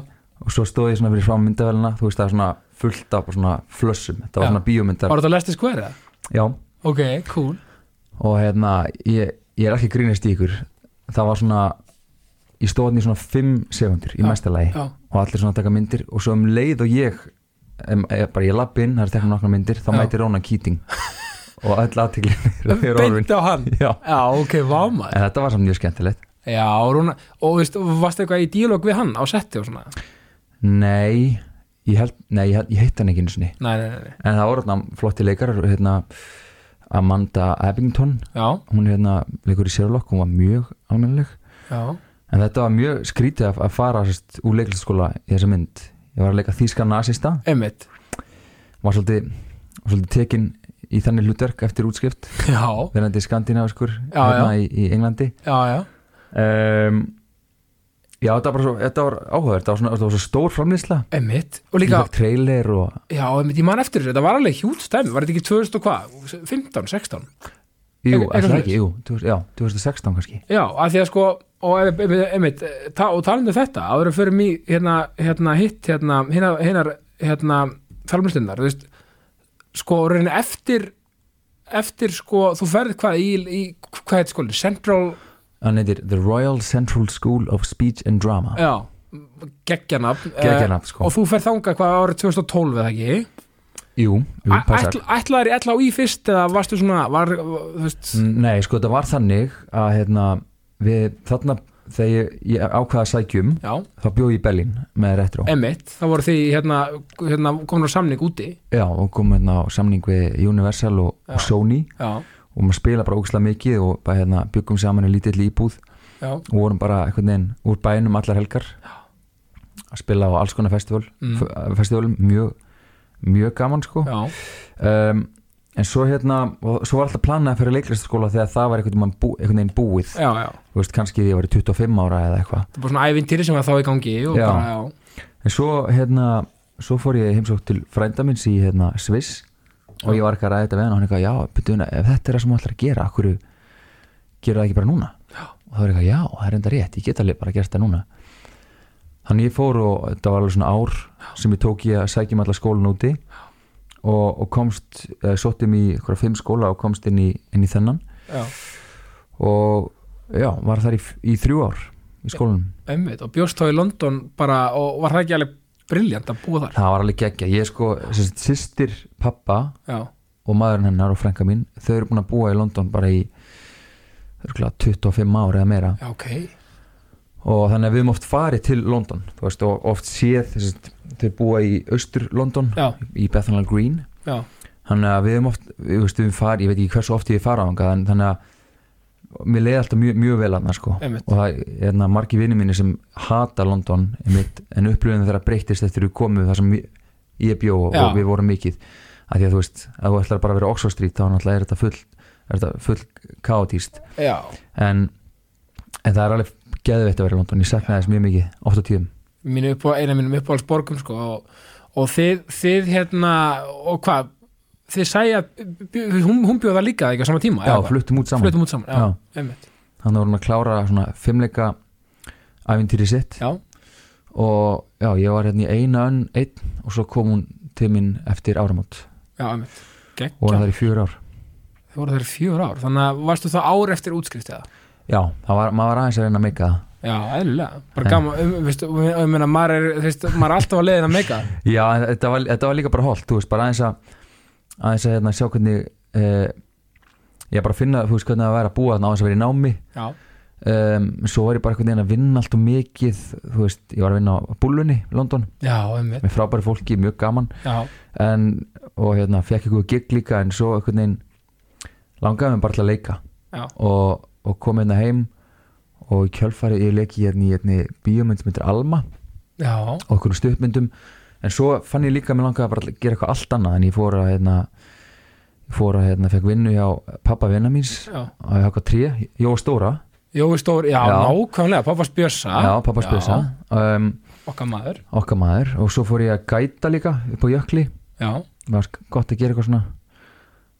S2: og svo stóð ég svona fyrir frá myndavelina þú veist það er svona fullt af svona flössum þetta var
S1: Já.
S2: svona bíómyndar
S1: var þetta að lesta skverða?
S2: Já.
S1: Ok, cool
S2: og hérna ég, ég er ekki að grínast í ykkur það var svona ég stóð hann í svona 5 sekundur í
S1: Já.
S2: mesta lagi
S1: Já,
S2: og allir svona að taka myndir og svo um leið og ég em, e, bara ég lapp inn, það er tekna nokkra myndir þá
S1: Já.
S2: mæti Rónan Keating og öll aðteklin er orðin
S1: beint á hann
S2: Já.
S1: Já, ok, vámaður
S2: en þetta var samt mjög skemmtilegt
S1: Já, Rúna, og veist, varstu eitthvað í dílóg við hann á setti og svona?
S2: Nei, ég held, nei, ég, held, ég heitt hann ekki einu sinni
S1: Nei, nei, nei, nei.
S2: En það voru hérna flotti leikarar hérna, Amanda Abington
S1: já,
S2: Hún hérna, leikur í Sherlock, hún var mjög almennileg
S1: já
S2: En þetta var mjög skrítið að, að fara sest, úr leiklistaskóla í þessa mynd Ég var að leika þýskan nasista
S1: Einmitt,
S2: Var svolítið, var svolítið tekin í þannig hlutverk eftir útskipt
S1: já,
S2: Verandi skandinaviskur
S1: Já,
S2: hérna Í, í Englandi
S1: já, já
S2: um, Já, þetta var, bara svo, þetta var áhugavert Það var, svona, þetta var svo stór framlýsla
S1: Einmitt, og
S2: Ég
S1: líka,
S2: fekk trailer og
S1: já, einmitt, ég man eftir þessu, þetta var alveg hjút stæmi, var þetta ekki 2000 og hvað, 15, 16? Eitthvað-
S2: Jú, er það
S1: eitthvað
S2: ekki, jú, 2000 já, 2016 kannski
S1: Já, af því að sko, og ef- ef- ef- einmitt, ta, og talandi um þetta, áður að fyrir mig hérna, hérna hitt, hérna, hérna, hérna, hérna, fjálmstundar, þú veist, sko, raunin eftir eftir sko, þú ferð hvað í, í hvað heit skóli, Central
S2: hann heitir The Royal Central School of Speech and Drama
S1: já, geggjanafn
S2: Geggjanafn, sko.
S1: eh, og þú ferð þangað hvað árið 2012 eða ekki
S2: Jú, jú passar
S1: Ætl, ætlaðir í LHÍ fyrst eða varstu svona var, þú veist,
S2: Mm, Nei, sko, þetta var þannig að hérna, við, þarna þegar ég, ég ákvaða sækjum
S1: já,
S2: um, þá bjóð ég í Berlín með Retro
S1: emitt þá voru því hérna, hérna komin á samning úti
S2: Já, og kom hérna á samning við Universal og, og Sony
S1: já,
S2: og maður spila bara ógislega mikið og bara hérna byggum saman í lítill íbúð
S1: já,
S2: og vorum bara einhvern veginn úr bænum allar helgar að spila á alls konar festival
S1: Mm.
S2: mm. festivalum, mjög mjög gaman sko
S1: já,
S2: um, en svo hérna, og svo var alltaf planað fyrir leiklistaskóla þegar það var einhvern veginn, bú, einhvern veginn búið
S1: já, já
S2: þú veist, kannski því ég var 25 ára eða eitthvað
S1: það er bara svona ævintýri sem var þá í gangi og
S2: Já.
S1: bara, já,
S2: en svo hérna, svo fór ég heimsótt til frænda minns í hérna Sviss og ég var eitthvað að ræða þetta við hann og hann eitthvað, já, byrjuðuna, ef þetta er það sem þú ætlar að gera, akkur gera það ekki bara núna já. og það var eitthvað, já, það er enda rétt, ég get alveg bara að gera þetta núna þannig ég fór og þetta var alveg svona ár sem ég tók ég að sækja með alla skólan úti og, og komst, uh, sóttum í einhverja fimm skóla og komst inn í, inn í þennan
S1: já,
S2: og já, var þar í, í þrjú ár í skólanum
S1: emitt og bjóst þá í London bara og var það ekki alveg briljant að búa þar
S2: það var alveg geggja, ég sko sérst, sýstir pappa
S1: já,
S2: og maðurinn hennar og frænka mín þau eru búin að búa í London bara í örugglega 25 ár eða meira
S1: já, ok
S2: og þannig að við höfum oft farið til London þú veist, og oft séð sérst, þau búa í austur London
S1: já,
S2: í Bethnal Green
S1: já,
S2: þannig að við höfum oft, við veist, við höfum farið ég veit ekki hversu oft ég fara á hann þannig að mér leiði alltaf mjög, mjög vel hann sko.
S1: Einmitt.
S2: og það er hérna, margi vinni mínir sem hata London einmitt, en upplöfum þeirra breyttist eftir við komum þar sem ég- ég bjó og,
S1: Já.
S2: og við vorum mikið að því að þú veist, að þú ætlar bara að vera á Oxford Street þá náttúrulega er þetta full, er þetta full kaotíst
S1: já
S2: en, en það er alveg geðveitt að vera í London, ég saknaði þess mjög mikið oft á tíðum
S1: mínu upp á, eina mínum uppáhaldsborgum sko, og, og þið, þið hérna og hvað, þið sæja hún, hún bjóða líka ekki á sama tíma
S2: já,
S1: eða hvað?
S2: fluttum út saman,
S1: fluttum út saman, já, einmitt
S2: þannig vorum við að klára svona fimmleika ævintýri sitt
S1: já,
S2: og já, ég var hérna í eina önn einn og svo kom hún til mín eftir áramót
S1: já, einmitt
S2: og var
S1: Gekkja,
S2: það í fjör ár
S1: þið voru þeir fjör ár þannig að varstu það ár eftir útskrift eða
S2: já, það var, maður var aðeins að reyna að meika það
S1: já, eðlilega, bara
S2: En-
S1: gaman um, veistu, um, um, um, maður, er, veist, maður er alltaf að leiðin að meika
S2: já, en þetta var, þetta var líka bara holdt, þú veist, bara aðeins að aðeins að hérna, sjá hvernig eh, ég bara finna, þú veist, hvernig það væri að búa þarna á þess að vera í námi
S1: já,
S2: um, svo var ég bara einhvern veginn að vinna allt og mikið þú veist, ég var að vinna á búlunni í London,
S1: já, einmitt
S2: með frábæri fólki, mjög gaman
S1: já,
S2: en, og hérna, fekk eitthvað gig líka en svo einhvern veginn langaði mig bara til að leika
S1: já,
S2: og, og kom hérna heim og í kjölfarið ég leiki hérna í hérna bíómynd sem heitir Alma
S1: já
S2: og okkur stuðmyndum en svo fann ég líka að mér langaði bara að gera eitthvað allt annað en ég fór að hérna ég fór að hérna, fekk vinnu hjá pappa vinna míns
S1: já
S2: á Haka 3, Jóa Stóra
S1: Jói Stór, já,
S2: Já.
S1: nákvæmlega, pappas Björsa
S2: já, pappa spjösa um,
S1: Okkar maður,
S2: okkar maður og svo fór ég að gæta líka upp á jökli,
S1: já
S2: var gott að gera eitthvað svona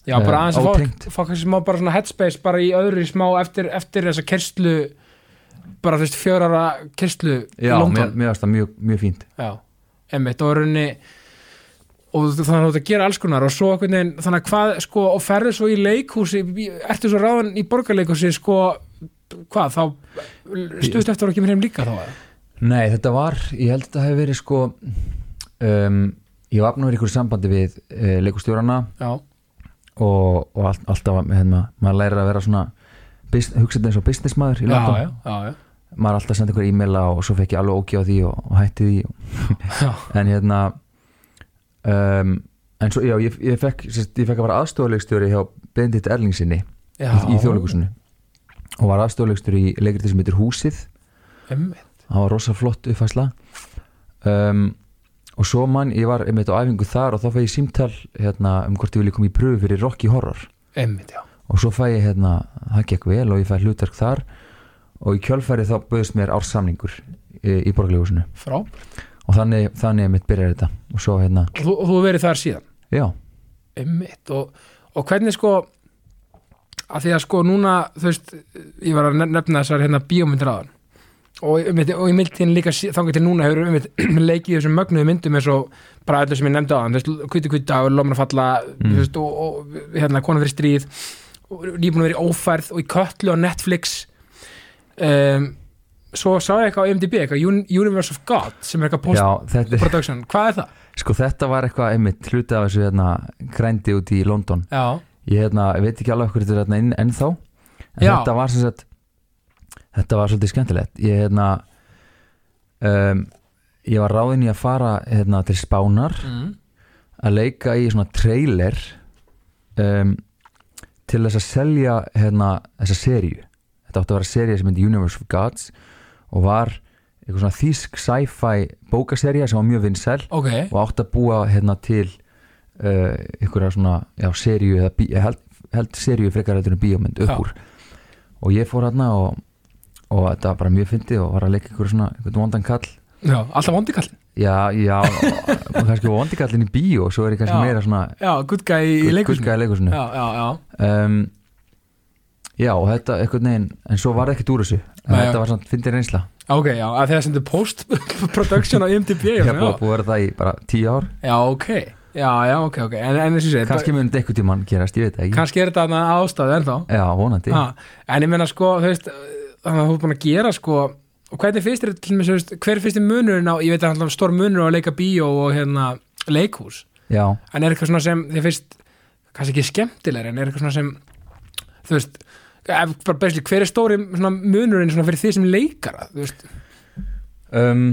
S1: Já, bara
S2: Eh,
S1: aðeins að fá,
S2: ótengt.
S1: fá kannski smá bara svona headspace bara í öðru í smá eftir, eftir þessa kerslu bara þú veist fjörara kerslu í
S2: já, mér,
S1: London
S2: mér varst það mjög, mjög fínt
S1: Já, emmitt og raunni og þú- þannig að þú ert að gera alls konar og svo einhvern veginn, þannig að hvað sko og ferðu svo í leikhúsi, í- ertu svo ráðan í borgarleikhúsi sko hvað, þá stutt eftir að kemur heim líka þá eða?
S2: Nei, þetta var, ég held að þetta hefði verið sko um, ég var nú í ykkur sambandi við uh, leikustjórana
S1: Já,
S2: og, og allt, alltaf að- hérna, maður lærir að vera svona bus- hugsa þetta eins og businessmaður í
S1: já,
S2: London
S1: já, já, já,
S2: maður er alltaf að senda ykkur e-maila og svo fekk ég alveg ógi á því og, og hætti því
S1: já,
S2: en hérna um, en svo, já, ég, ég fekk sérst, ég fekk að vera aðstofuleikstjóri hjá Bendit Erlingsinni
S1: já.
S2: í, í þjóðleikusinu og var aðstofuleikstjóri í leikriti sem heitir Húsið
S1: Einmitt,
S2: það var rosa flott uppfæsla um, og svo mann, ég var einmitt á æfingu þar og þá fæ ég símtal hérna, um hvort ég vilja koma í pröfu fyrir Rocky Horror
S1: einmitt, já
S2: og svo fæ ég hérna, það gekk vel og ég fæ hlutverk þar og í kjölfæri þá bauðist mér ársamningur í, í borgarlegusinu
S1: Frábært,
S2: og þannig, þannig einmitt byrjar þetta og svo hérna,
S1: og þú, og þú hefur verið þar síðan
S2: já,
S1: Einmitt, og, og hvernig sko að því að sko núna þú veist, ég var að nef- nefna þessar hérna bíómyndir áðan og, einmitt- og í mildtíðin líka sí- þangað til núna hefur einmitt leikið í þessum mögnuðu myndum eins og bara öllu sem ég nefndi á þann kvíti kvíti dagur, lóman að falla
S2: Mm.
S1: mm. veist, og, og hérna konan fyrir stríð og nýbúin að vera í ófærð og í köllu á Netflix um, svo sá ég eitthvað á IMDb eitthvað Un- Universe of God sem er eitthvað
S2: já, þetta, er-
S1: post-production, hvað er það?
S2: sko, þetta var eitthvað einmitt hluti af þessu hérna, grændi út í London
S1: Já,
S2: ég hérna, veit ekki alveg hverju þetta er hérna inn ennþá en
S1: Já.
S2: þetta var sem sagt þetta var svolítið skemmtilegt ég hérna um, ég var ráðin í að fara hérna, til Spánar
S1: mm.
S2: að leika í svona trailer um, til þess að selja hérna, þessa seríu þetta átti að vera seríu sem heitir Universe of Gods og var eitthvað svona þýsk sci-fi bókaserja sem var mjög vinsæl
S1: ok
S2: og átti að búa hérna til uh, einhverja svona já, seríu eða bí, held, held seríu frekar heldur en bíómynd upp
S1: Já.
S2: úr og ég fór hérna og, og þetta var bara mjög fyndið og var að leika einhverja svona einhvern vondan kall
S1: já, alltaf vondikall
S2: já, já, og kannski vondi kallin í bíó svo er ég kannski
S1: Já.
S2: meira svona
S1: já, good guy í leikursunum
S2: gullgæði leikusinu
S1: já, já, já,
S2: um, já, og þetta einhvern veginn, en svo var ekkert úr þessu en
S1: Nei, já.
S2: þetta var svona fyndið reynsla
S1: ok, já, að þegar sendur post-production á E IMDb
S2: ég hef
S1: já,
S2: búið búið að vera það í bara tíu ár
S1: Já, ok, já, já, ok, ok En, en þessi segir, kannski,
S2: kannski munið eitthvað tímann gerast, ég veit það ekki
S1: kannski er þetta annað ástæðu ennþá
S2: já, vonandi
S1: ha, En ég meina sko, þú veist Þannig að þú er búin að gera sko Og hvernig finnst þér, til mér, þú veist, hver finnst þér munurinn á Ég veit að hann er stór munur á að leika bíó og hérna leikhús
S2: já,
S1: En er eitthvað svona sem, þér finnst Kannski ekki skemmtilegri, en er eitthvað svona sem Þú veist ef- bara basically, hver er stóri svona, munurinn svona fyrir því sem leikara þú veist,
S2: um,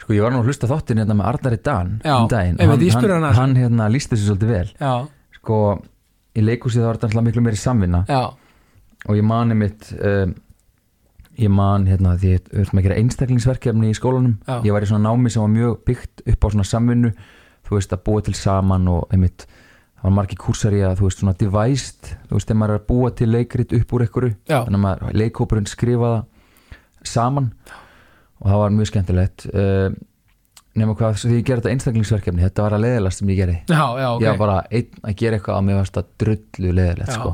S2: sko ég var nú að hlusta á þáttinn hérna með Arnari Dan
S1: Já,
S2: um daginn
S1: einmitt, ég
S2: hann,
S1: spurði hann að
S2: hann, hann hérna lísti sér svolítið vel
S1: já,
S2: sko í leikhúsið þá var þetta alltaf miklu meiri samvinna
S1: já,
S2: og ég mani mitt um, ég man hérna því ég höfum að gera einstaklingsverkefni í skólanum
S1: Já.
S2: ég var í svona námi sem var mjög byggt upp á svona samvinnu þú veist að búa til saman og einmitt það var margir kúrsar í að þú veist svona devised þú veist þegar maður er að búa til leikrit upp úr einhverju
S1: já,
S2: þannig að maður- leikhópurinn skrifaða saman og það var mjög skemmtilegt uh, nema hvað svo því ég gerði þetta einstaklingsverkefni þetta var að leiðilegast sem ég gerði
S1: já, já, ok
S2: ég var bara einn að gera eitthvað að mér varst að drullu leiðilegt
S1: Já.
S2: sko.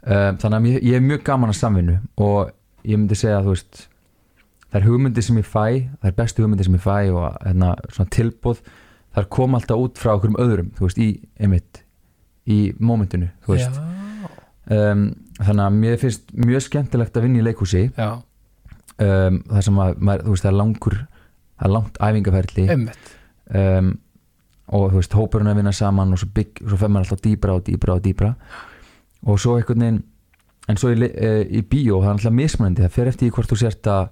S2: um, þannig að ég, ég er mjög gaman að samvinnu og ég myndi segja að þú veist þær hugmyndir sem ég fæ þær bestu hugmyndir sem ég fæ og hérna, svona tilbúð þær kom alltaf út frá okkur um öðrum þú veist, í, einmitt í momentinu, þú veist um, þannig að mér finnst mjög skemmtilegt að vinna í leikhúsi
S1: Já,
S2: um, það sem að maður, þú veist, það er langur það er langt æfingaferli
S1: já, einmitt
S2: um, og þú veist, hópurinn að vinna saman og svo, bygg, svo fer maður alltaf dýbra og dýbra og dýbra og svo einhvern veginn en svo í, le- eh, í bíó, það er alltaf mismunandi það fer eftir í hvort þú sért að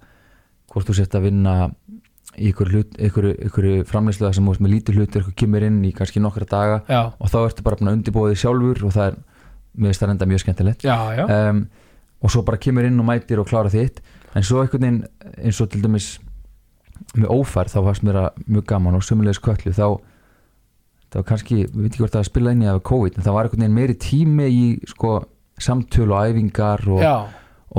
S2: hvort þú sért að vinna í ykkur, hlut, ykkur, ykkur framleyslu þar sem þú veist með lítið hlutur, ykkur kemur inn í kannski nokkra daga
S1: Já,
S2: og þá ertu bara búin að undirbúa þig sjálfur og það er, mér finnst það enda mjög skemmtilegt
S1: já, já
S2: um, og svo bara kemur inn og mætir og klára þitt en svo einhvern veginn eins og til dæmis með ófærð þá varst mér að mjög gaman og sömulegis köllu þá það var kannski, við veit ekki hvort það að spila inn í af COVID en það var einhvern veginn meiri tími í sko, samtöl og æfingar og,
S1: Já,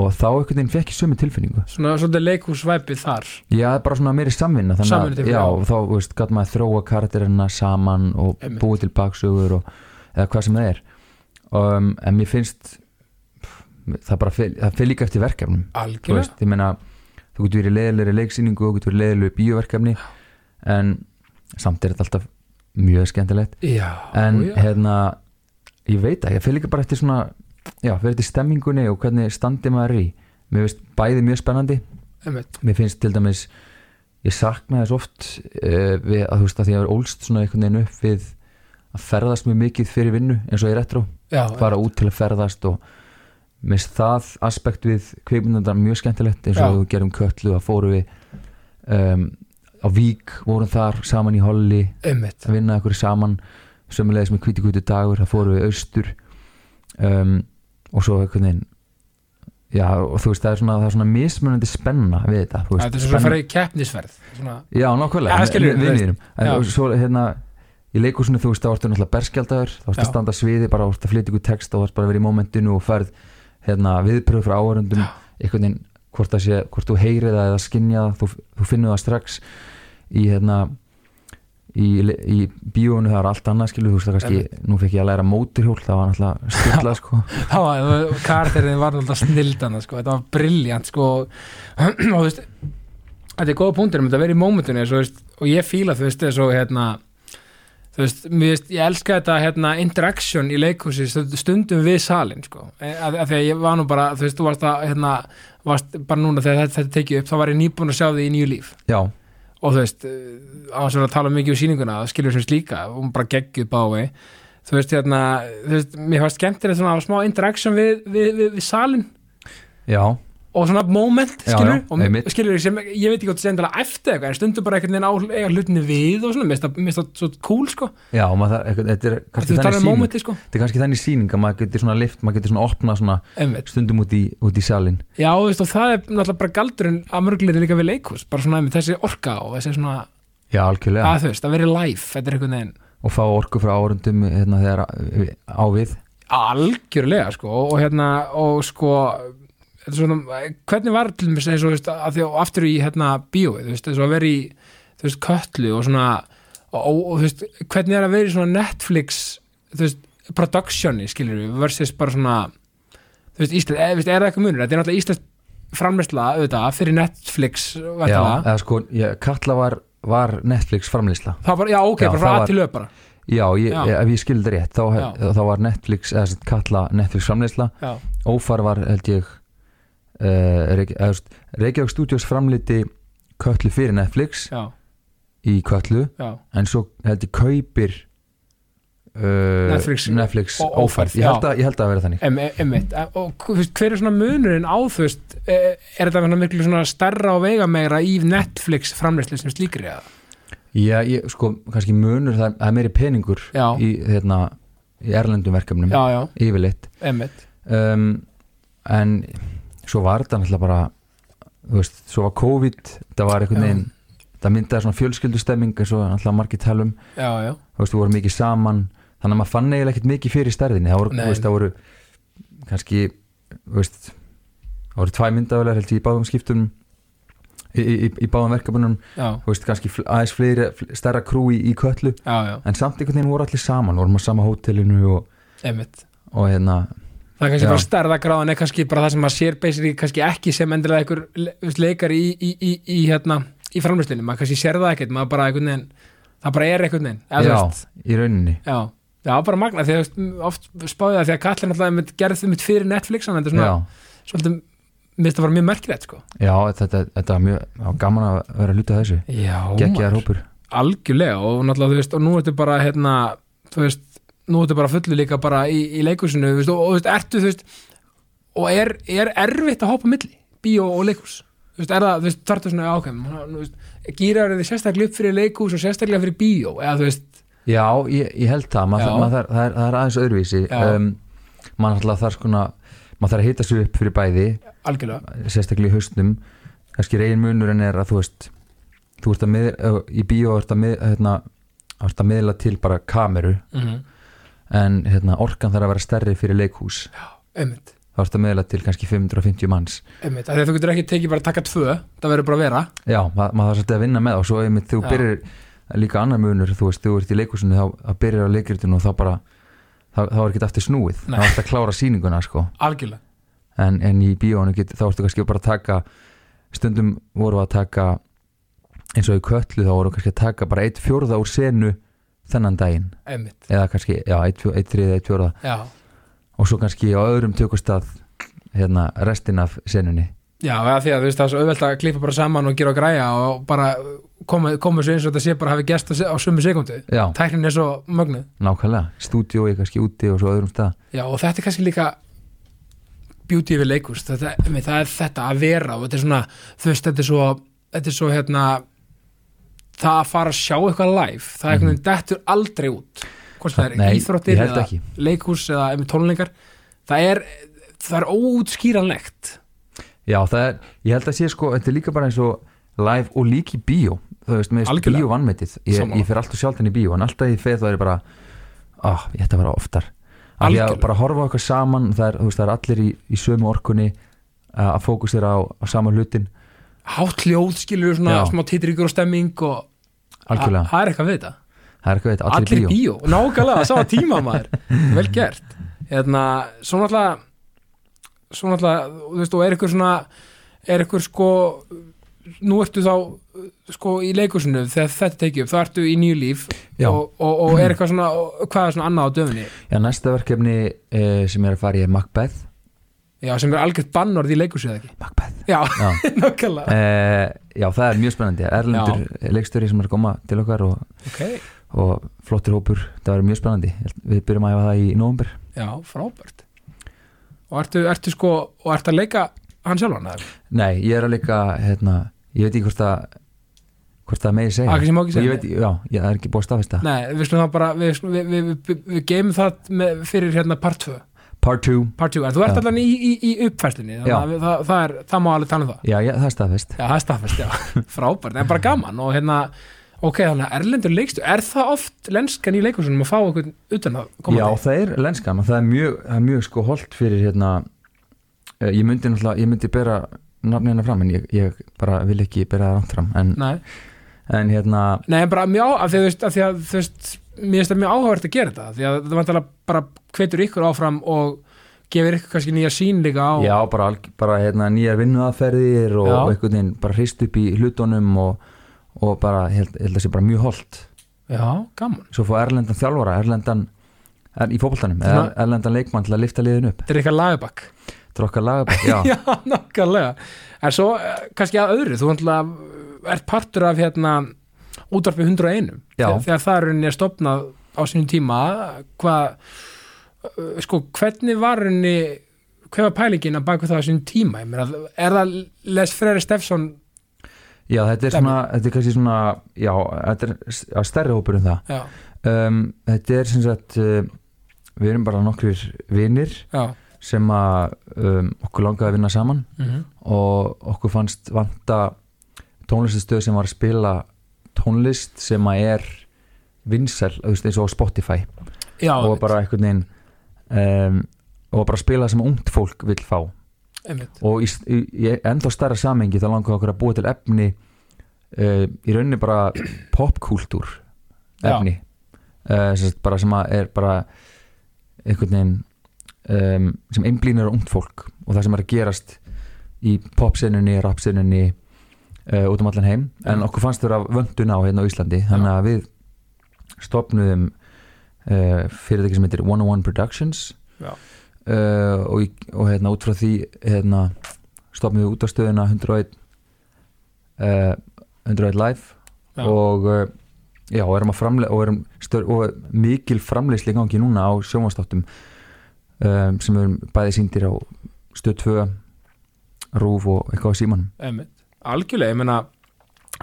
S2: og þá einhvern veginn fekk ég sömu tilfinningu
S1: svona svolítið leikhúsvæpið þar
S2: já, það er bara svona meiri samvinna
S1: Samvinna
S2: þannig
S1: til-
S2: að, já,
S1: já.
S2: og þá, þú veist, gæt maður að þróa karakterina saman og
S1: Einmitt.
S2: búið til baksögur og, eða hvað sem það er um, en mér finnst pff, það bara, fel, það fel líka eftir verkefnum þú
S1: algjörlega,
S2: veist, ég meina þú getur verið leðilegri leiksýningu þú getur verið leðilegu bíóverkefni en samt er þetta alltaf mjög skemmtilegt
S1: já,
S2: en
S1: já,
S2: hérna, ég veit ekki, ég fyrir líka bara eftir svona já, fyrir eftir stemmingunni og hvernig standi maður er í mér finnst bæði mjög spennandi
S1: einmitt,
S2: mér finnst til dæmis ég saknaði þess oft uh, við, að þú veist að því að ég er ólst svona einhvern veginn upp við að ferðast mjög mikið fyrir vinnu eins og ég er retro
S1: já,
S2: fara út til að ferðast og minnst það aspekt við kveikmyndundar mjög skemmtilegt eins og
S1: Já.
S2: við gerum köllu að fóru við um, á Vík vorum þar saman í Holli
S1: einmitt
S2: að vinna ykkur saman sömulegis með kvíti kvíti dagur það fóru við austur um, og svo einhvern veginn já og þú veist það er svona, það er svona mismunandi spenna við þetta þú veist,
S1: þetta er svona að fara í keppnisverð svona,
S2: Já, nákvæmlega,
S1: Ja, það skilur við, þú veist.
S2: vinnirum En
S1: Já.
S2: og svo hérna í leikúsinu þú veist, þá ertu náttúrulega berskjaldar þá ertu
S1: Já.
S2: að standa á sviði, bara þú ertu að flytja ykkur text þá ertu bara að vera í momentinu og færð hérna, viðbröð frá áhörundum einhvern veginn, hvort það sé, hvort þú heyrið það eða skinja það, þú, þú finnur það strax í hérna í, í bíónu það er allt annað skilur þú veist það kannski, nú fekk ég að læra móturhjól það var náttúrulega stilla sko
S1: þá var karakterinn var alltaf snildana sko, þetta var brilljant sko og þú veist þetta er góða punktur um þetta að vera í mómentunni svo, þú veist, og ég fíla þú veist þessu hérna þú veist, mér veist, ég elska þetta hérna interaction í leikhúsi stund- stundum við salin sko, Eh, af, af því að ég var nú bara þú veist, þú varst að hérna varst bara núna þegar þetta, þetta tekið upp, þá var ég nýbúin að sjá því í nýju líf
S2: já,
S1: og þú veist, eh, á þess að vera að tala mikið um sýninguna, það skilur sem slíka og hún bara geggjuð bái þú veist, hérna, þú veist, mér fannst skemmtilegt svona að hafa smá interaction við, við, við, við salin
S2: já,
S1: og svona moment,
S2: Já,
S1: skilur
S2: já,
S1: og
S2: einmitt.
S1: skilur sem, ég veit ekki hvort sem endilega eftir eitthvað, en stundum bara einhvern veginn á eiga hlutinni við og svona, mér finnst það- mér finnst það svo cool, sko,
S2: já maður, það, eitthvað- þetta er
S1: þú
S2: kannski
S1: talar
S2: þannig
S1: um
S2: sýning
S1: momenti, sko
S2: þetta er kannski þannig sýning að maður getur svona lift maður getur svona opna svona
S1: Einmitt.
S2: stundum út í, út í salin
S1: Já, þú veist, og það er náttúrulega bara galdurinn að mörguleiti líka við leikhús, bara svona einmitt þessi orka og þessi svona,
S2: já, algjörlega,
S1: að þú veist, að vera live þetta er einhvern veginn
S2: og fá orku frá árundum hérna, þegar á við
S1: algjörlega, sko, og hérna og sko, þetta er svona hvernig var til mér eins og, þú veist, að því og aftur í hérna bíóið, þú veist, eins og að vera í þú veist, köllu og svona og, og, og þú veist, hvernig er að vera í svona Netflix, þú veist, productioni skilur við, versus bara svona þú veist, Ísland, eða, þú veist, er það eitthvað munur þetta er náttúrulega Ísland framleysla auðvitað fyrir Netflix,
S2: já,
S1: væntanlega.
S2: eða sko, já, Katla var, var Netflix framlýsla
S1: Það var, já, ok,
S2: Já,
S1: bara
S2: það
S1: frá að
S2: var-
S1: til löp bara
S2: já, ég,
S1: Já.
S2: ef ég skildi rétt þá,
S1: Já.
S2: þá var Netflix, eða sem sagt Katla Netflix framlýsla
S1: Já,
S2: Ófar var held ég uh, Reykj eða, þú veist, Reykjavík Studios framliti Köllu fyrir Netflix
S1: já,
S2: í Köllu
S1: já,
S2: en svo held ég kaupir uh,
S1: Netflix-
S2: Netflix
S1: og-
S2: ófærð ég
S1: já.
S2: held, að, ég held að það vera þannig
S1: em, emmitt Og þú veist, hver er svona munurinn á þú veist eh, Er þetta svona miklu svona starra og veigamegra í Netflix framleyslu sem slíkri eða?
S2: já, ég, sko, kannski munur það, það er meiri peningur
S1: Já.
S2: í, hérna, í erlendum verkefnum
S1: Já, já,
S2: yfirleitt
S1: emmitt
S2: um, en svo var þetta náttúrulega bara þú veist, svo var COVID það var einhvern
S1: Já.
S2: veginn það myndaði svona fjölskyldustemming eins og náttúrulega margir talum
S1: Já, já,
S2: þú veist, við vorum mikið saman þannig að maður fann eiginlega ekkert mikið fyrir stærðinni það voru,
S1: Nei.
S2: þú veist, það voru kannski, þú veist það voru tvæ myndavelar held ég í báðum skiptum í, í, í- í báðum verkefnunum
S1: já,
S2: þú veist, kannski fl- aðeins fleiri, fl- stærra krú í, í köllu,
S1: já, já,
S2: en samt einhvern veginn voru allir saman, vorum á sama hótelinu og,
S1: emmitt
S2: og hérna,
S1: Það er kannski
S2: Já.
S1: bara starra gráðan er kannski bara það sem maður sér basically kannski ekki sem endilega einhver le- þú veist, leikari í, í, í, í hérna í framleyslunni, maður kannski sér það ekkert maður bara einhvern veginn, það bara er einhvern veginn eða þú
S2: já,
S1: veist.
S2: í rauninni
S1: Já, já bara magna því að þú veist, oft spáði það því að Katla náttúrulega einmitt gerði þau mitt fyrir Netflix þannig að þetta
S2: já,
S1: er svona svolítið, mér finnst það var mjög merkilegt sko.
S2: já, þetta, þetta var mjög það var gaman að vera að luta þessu
S1: Já,
S2: geggjaðar hópur,
S1: algjörlega og náttúrulega þú veist og nú ertu bara hérna, þú veist nú ertu bara fullu líka bara í, í leikusinu veist, og, og þú veist, ertu þú veist og er, er erfitt að hoppa á milli bíó og leikus þú veist, er það, þú veist, þartu svona ákveðum þú veist, gýrar þið sérstaklega upp fyrir leikus og sérstaklega fyrir bíó eða þú veist,
S2: já, ég, ég held það maður,
S1: Já.
S2: maður, þarf- það, er, það er aðeins öðruvísi
S1: Já.
S2: um, maður alltaf þarf skona maður þarf að hita sig upp fyrir bæði
S1: algjörlega
S2: sérstaklega í haustnum kannski reygin munurinn er að þú veist þú ert að mið, ö, í bíó ert að, mið, hérna, ert að miðla til bara kameru
S1: mm -hmm.
S2: en hérna, orkan þarf að vera stærri fyrir leikhús
S1: einmitt,
S2: þá ert að miðla til kannski 550 manns
S1: einmitt, af því að þú getur ekki tekið bara að taka tvö það verður bara að vera
S2: já, ma maður þarf svolítið að vinna með það og svo einmitt þú
S1: Já.
S2: byrjar líka annar munur þú veist, þú ert í leikhúsinu þá, þá byrjar á leikritinu og þá bara þá, þá er ekki aftur snúið,
S1: Nei.
S2: þá ert að klára sýninguna sko.
S1: algjörlega
S2: en, en í bíónu get, þá ertu kannski bara að taka stundum voru að taka eins og í köllu þá voru kannski að taka bara eitt fjórða úr senu þennan daginn
S1: einmitt,
S2: eða kannski, já, eitt, fjó- eitt þriðið, eitt fjórða
S1: já
S2: og svo kannski á öðrum tökustað hérna, restin af senunni
S1: Já, eða því að þú veist það er svo auðvelt að klippa bara saman og gera og græja og bara koma, koma svo eins og þetta sé bara hafi gest á, se- á sumu sekundu
S2: já,
S1: Tæknin er svo mögnuð
S2: nákvæmlega, stúdíói kannski úti og svo öðrum stað
S1: Já, og þetta er kannski líka beauty við leikust þetta, emi, það er þetta að vera og þetta er svona, þú veist, þetta er svo þetta er svo, hérna það að fara að sjá eitthvað live það er einhvern veginn dettur aldrei út hvort það er
S2: Mhm. Nei, ég
S1: íþróttir
S2: held
S1: eða
S2: ekki.
S1: leikhús eða emi, tónleikar það er, það er óútskýranlegt
S2: já, það er, ég held að sé sko, þetta er líka bara eins og live og líki bíó þú veist, með
S1: Algjörlega.
S2: bíó vannmetið ég,
S1: Sammála.
S2: ég fer alltaf sjálf í bíó, en alltaf ég fer þá er ég bara ah, ég ætti að vera oftar af því að
S1: Algjörlega.
S2: bara horfa á eitthvað saman það er, þú veist, það er allir í, í sömu orkunni eh, að að fókusera á, á sama hlutin
S1: hátt hljóð skilur svona
S2: Já.
S1: smá títrikur og stemming og
S2: algjörlega,
S1: það er eitthvað við þetta
S2: það er eitthvað veit, allir,
S1: allir í
S2: allir bíó
S1: bíó, nákvæmlega, sá að tíma maður vel gert hérna, svona alltaf svona alltaf, þú veist, og er ykkur svona er ykkur sko nú ertu þá sko í leikursinu þegar þetta tekið upp, þá ertu í nýju líf
S2: Já.
S1: og, og, og er eitthvað svona og hvað er svona annað á döfni,
S2: Já, næsta verkefni uh, sem ég er að fara í er Macbeth
S1: já, sem er algjört bannorð í leikursinu eða ekki,
S2: Macbeth
S1: já,
S2: Já,
S1: nákvæmlega
S2: uh, já það er mjög spennandi Erlendur leikstöri sem er að koma til okkar og,
S1: ok,
S2: og flottir hópur, það verður mjög spennandi Ég held- Við byrjum að hafa það í nóvumber
S1: já, frábært og ertu, ertu sko og ertu að leika hann sjálfan eða?
S2: Nei, ég er að leika, hérna, ég veit ekki hvort það hvort það megi segja
S1: Að Ah, kannski má ekki
S2: Og
S1: segja
S2: ég veit, Já, já, það er ekki búið að staðfesta
S1: Nei, við slum það bara við, skulum- við, við, við, við geymum það með, fyrir hérna part 2,
S2: Part 2,
S1: part 2 en þú ert
S2: Já.
S1: allan í, í, í uppfæstinni þannig
S2: Já.
S1: að við- það, það, er, það má alveg tala um það
S2: já, já, það er staðfest
S1: Já, það er staðfest, já, frábært, en bara gaman og hérna, ok, þannig að erlendur leikstu er það oft lenskan í leikursunum að fá okkur utan að koma
S2: Já, það er lenskan og það er mjög, það er mjög sko holt fyrir hérna eh, ég myndi náttúrulega, ég myndi bera nafni hennar fram en ég, ég bara vil ekki bera það rangt fram en,
S1: Nei,
S2: en hérna,
S1: nei, en bara mjög á af því að þú veist, af því að þú veist mér finnst það mjög áhugavert að gera þetta af því að það vantalega bara hvetur ykkur áfram og gefur ykkur kannski nýja sín líka á
S2: já, bara, alg- bara hérna, nýjar vinnuaðferðir og,
S1: Já.
S2: og einhvern veginn bara hrist upp í hlutunum og, og bara, ég held, ég held að sé bara mjög holt
S1: já gaman
S2: svo fá erlendan þjálfara, erlendan er, í fótboltanum, er,
S1: Svona-
S2: erlendan leikmann til að lifta liðin upp,
S1: Þetta er eitthvað lagabakk
S2: trókka lagabæk já,
S1: Já, nokkanlega En svo eh, kannski að öðru, þú ætla ert partur af hérna útvarfi 101
S2: Já.
S1: þegar, þegar það er rauninni að stopna á sínum tíma hvað eh, sko, hvernig var rauninni hver var pælingin að baka það á sínum tíma Ég meina, er það Les Freyri Stefsson
S2: já, þetta er
S1: Dæmi.
S2: svona þetta er kannski svona, já, þetta er s- já, stærri hópur en það
S1: já,
S2: um, þetta er sem sagt uh, við erum bara nokkrir vinir
S1: já,
S2: sem að um, okkur langaði að vinna saman
S1: mm
S2: og okkur fannst vanta tónlistastöð sem var að spila tónlist sem að er vinsæl, þú veist, eins og á Spotify
S1: já
S2: og bara einhvern veginn um, og bara spila sem ungt fólk vill fá
S1: einmitt,
S2: og í, í, í ennþá starra samengi þá langaði okkur að búa til efni uh, í rauninni bara popkúltúr
S1: Já.
S2: efni uh, sem, sagt bara sem að er bara einhvern veginn um, sem einblínir á ungt fólk og það sem er að gerast í popsenunni, rapsenunni uh, út um allan heim
S1: Mm.
S2: en okkur fannst þurfa vöndun á hérna á Íslandi þannig að við stopnuðum uh, fyrirtæki sem heitir 101 Productions
S1: Já.
S2: uh, og, í- og hérna út frá því hérna stopnum við út á stöðuna 101 uh, 101 live
S1: Já.
S2: og uh, já, og erum að framlega og, erum stör, og mikil framleysli í gangi núna á sjónvastáttum um, sem við erum bæði síndir á stöð 2 rúf og eitthvað á símanum
S1: einmitt. algjörlega, ég meina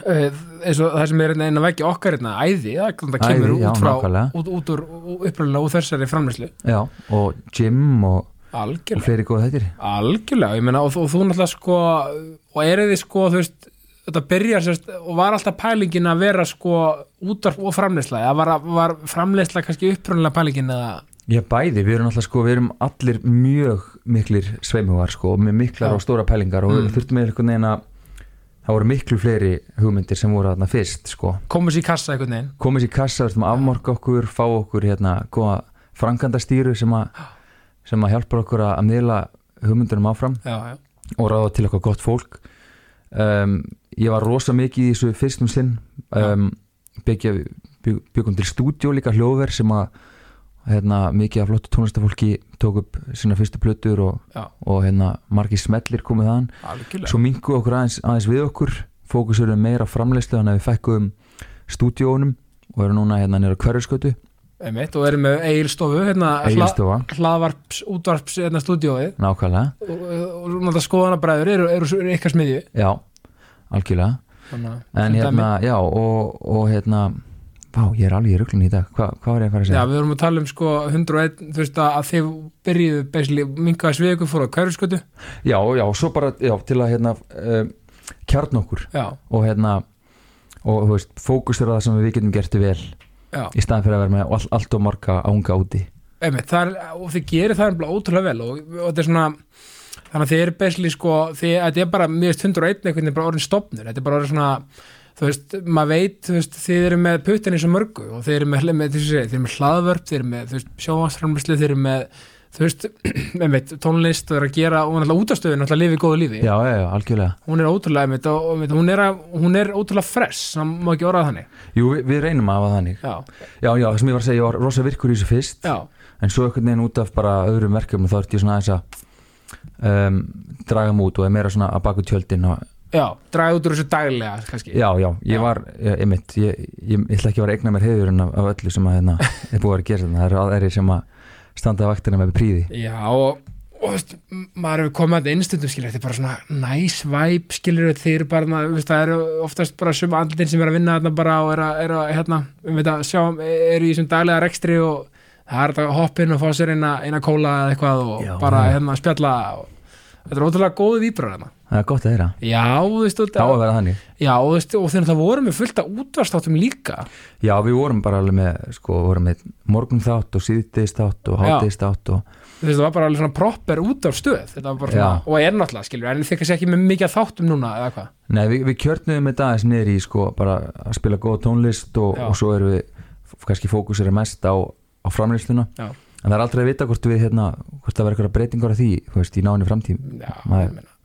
S1: eh, eins og það sem er einn að vekja okkar hérna æði, það það kemur
S2: Æði, já,
S1: út frá
S2: nákvæmlega.
S1: út, út úr uppröðlega úr þessari framlæslu
S2: já, og gym og, og
S1: algjörlega
S2: fleiri góð þettir
S1: Algjörlega, ég meina og, þú- og þú náttúrulega sko og er þið sko, þú veist þetta byrjar sérst og var alltaf pælingin að vera sko útvarp og framleysla eða var, var framleysla kannski upprunnilega pælingin eða
S2: Já, bæði, við erum alltaf sko, við erum allir mjög miklir sveimuvar sko, og með miklar
S1: Já.
S2: og stóra pælingar og
S1: Mm.
S2: mm. þurftum með einhvern veginn að það voru miklu fleiri hugmyndir sem voru þarna fyrst sko.
S1: komur sér í kassa einhvern veginn
S2: komið sér í kassa, þurftum að afmarka okkur fá okkur hérna, góða frankandastýru sem að, sem að hjálpar okkur að að miðla hugmyndunum áfram
S1: Já, já,
S2: og ráða til eitthvað gott fólk um, ég var rosa mikið í þessu fyrstum sinn um, byggja, bygg, byggum til stúdíó líka hljóðver sem að hérna, mikið af flottu tónlistafólki tók upp sína fyrstu plötur og,
S1: Já.
S2: og hérna, margir smellir komið þaðan
S1: algjörlega
S2: svo minguðu okkur aðeins, aðeins við okkur fókusurum meira á framleyslu þannig að við fækkuðum stúdíónum og erum núna hérna nýra hverjuskötu
S1: Einmitt, og erum með eigilstofu hérna, hla,
S2: eiginstofa,
S1: hlaðvarps, útvarps hérna stúdíóið
S2: nákvæmlega
S1: og, og, og náttúrulega skoðanabræður eru, eru, eru ykkar smiðju
S2: já, algjörlega
S1: Þannig að-
S2: en
S1: sem dæmi.
S2: hérna, já, og, og hérna Vá, ég er alveg í ruglun í dag, Hva, hvað var ég að fara að
S1: Já,
S2: segja?
S1: við vorum að tala um sko 101, þú veist að, að þið byrjuðu basically, minkaði sveiku fór á hverfskötu
S2: Já, já, svo bara, já, til að hérna um, kjarn okkur
S1: Já,
S2: og hérna og þú veist, fókus er á það sem við getum gert vel
S1: já
S2: í staðan fyrir að vera með all, allt og marga ánga úti
S1: Einmitt, það er, og þið gerir það nefnilega ótrúlega vel og, og þetta er svona þannig að þið eru besli sko, þið, þetta er bara mjög 101 einhvern veginn bara orðin stopnur, þetta er bara orðin svona þú veist, maður veit, þú veist, þið eru með puttin eins og mörgu og þið eru með, með þið eru með hlaðvörp, þið eru með, þú veist, sjóvansframlislu, þið eru með, þú veist, einmitt, tónlist, þau eru að gera og náttúrulega útastöðin, náttúrulega lifið góðu lífi.
S2: já, já, já, algjörlega
S1: Hún er ótrúlega, einmitt, og, og, einmitt, hún, er að, hún er ótrúlega fresh, það má ekki orðað þannig.
S2: Jú, við, við reynum að hafa þannig
S1: Já,
S2: Já, já, það sem ég var að segja, ég var rosa virkur í þessu fyrst
S1: já,
S2: En svo einhvern veginn út af bara öðrum verkefni Þá ert ég svona aðeins að um, Draga mig út og er meira svona að baku tjöldin og,
S1: já, dragið út úr þessu daglega, kannski.
S2: Já, já, ég
S1: Já.
S2: var, ég, einmitt Ég, ég, ég ætla ekki að vera að eigna mér heiður En af, af öllu sem að hérna er búið að vera að gera þarna. Það eru aðeiri sem að standa að vaktina með príði
S1: Já, og, og þú veist, m- maður hefur komið að þetta innstundum, skilur, þetta er bara svona næs nice væp, skilur, þeir eru bara, þarna, þú veist, það eru oftast bara sum andlutin sem eru að vinna þarna bara og eru að, er að hérna, við veit að sjá, e-, eru í þessum daglega rekstri og það er þetta hoppin og fá sér eina, eina kóla eða eitthvað og
S2: Já.
S1: bara hérna spjalla og þetta er ótrúlega góðu víbrar hérna.
S2: Það er gott að þeirra,
S1: Já, þú veist, og,
S2: þá að vera þannig
S1: já, og, þú veist, og þeir náttúrulega voru með fullt af útvarstáttum líka.
S2: Já, við vorum bara alveg með, sko, vorum með morgun þátt og síðdegis þátt og
S1: Já.
S2: hátdegis þátt og
S1: þú veist, það var bara alveg svona proper út af stöð þetta var bara
S2: Já.
S1: svona, og er náttúrulega skilur en þið kannski ekki með mikið að þáttum núna eða hvað
S2: Nei, við, við kjörnum þetta aðeins niður í sko, bara að spila góða tónlist og,
S1: Já.
S2: og svo erum við f- kannski fókusir mest á, á framlýsluna
S1: Já.
S2: en það er aldrei að vita hvort við hérna, hvort það verður eitthvað breytingar á því, þú veist, í náinni framtíð
S1: Já,
S2: Nei.
S1: ég meina,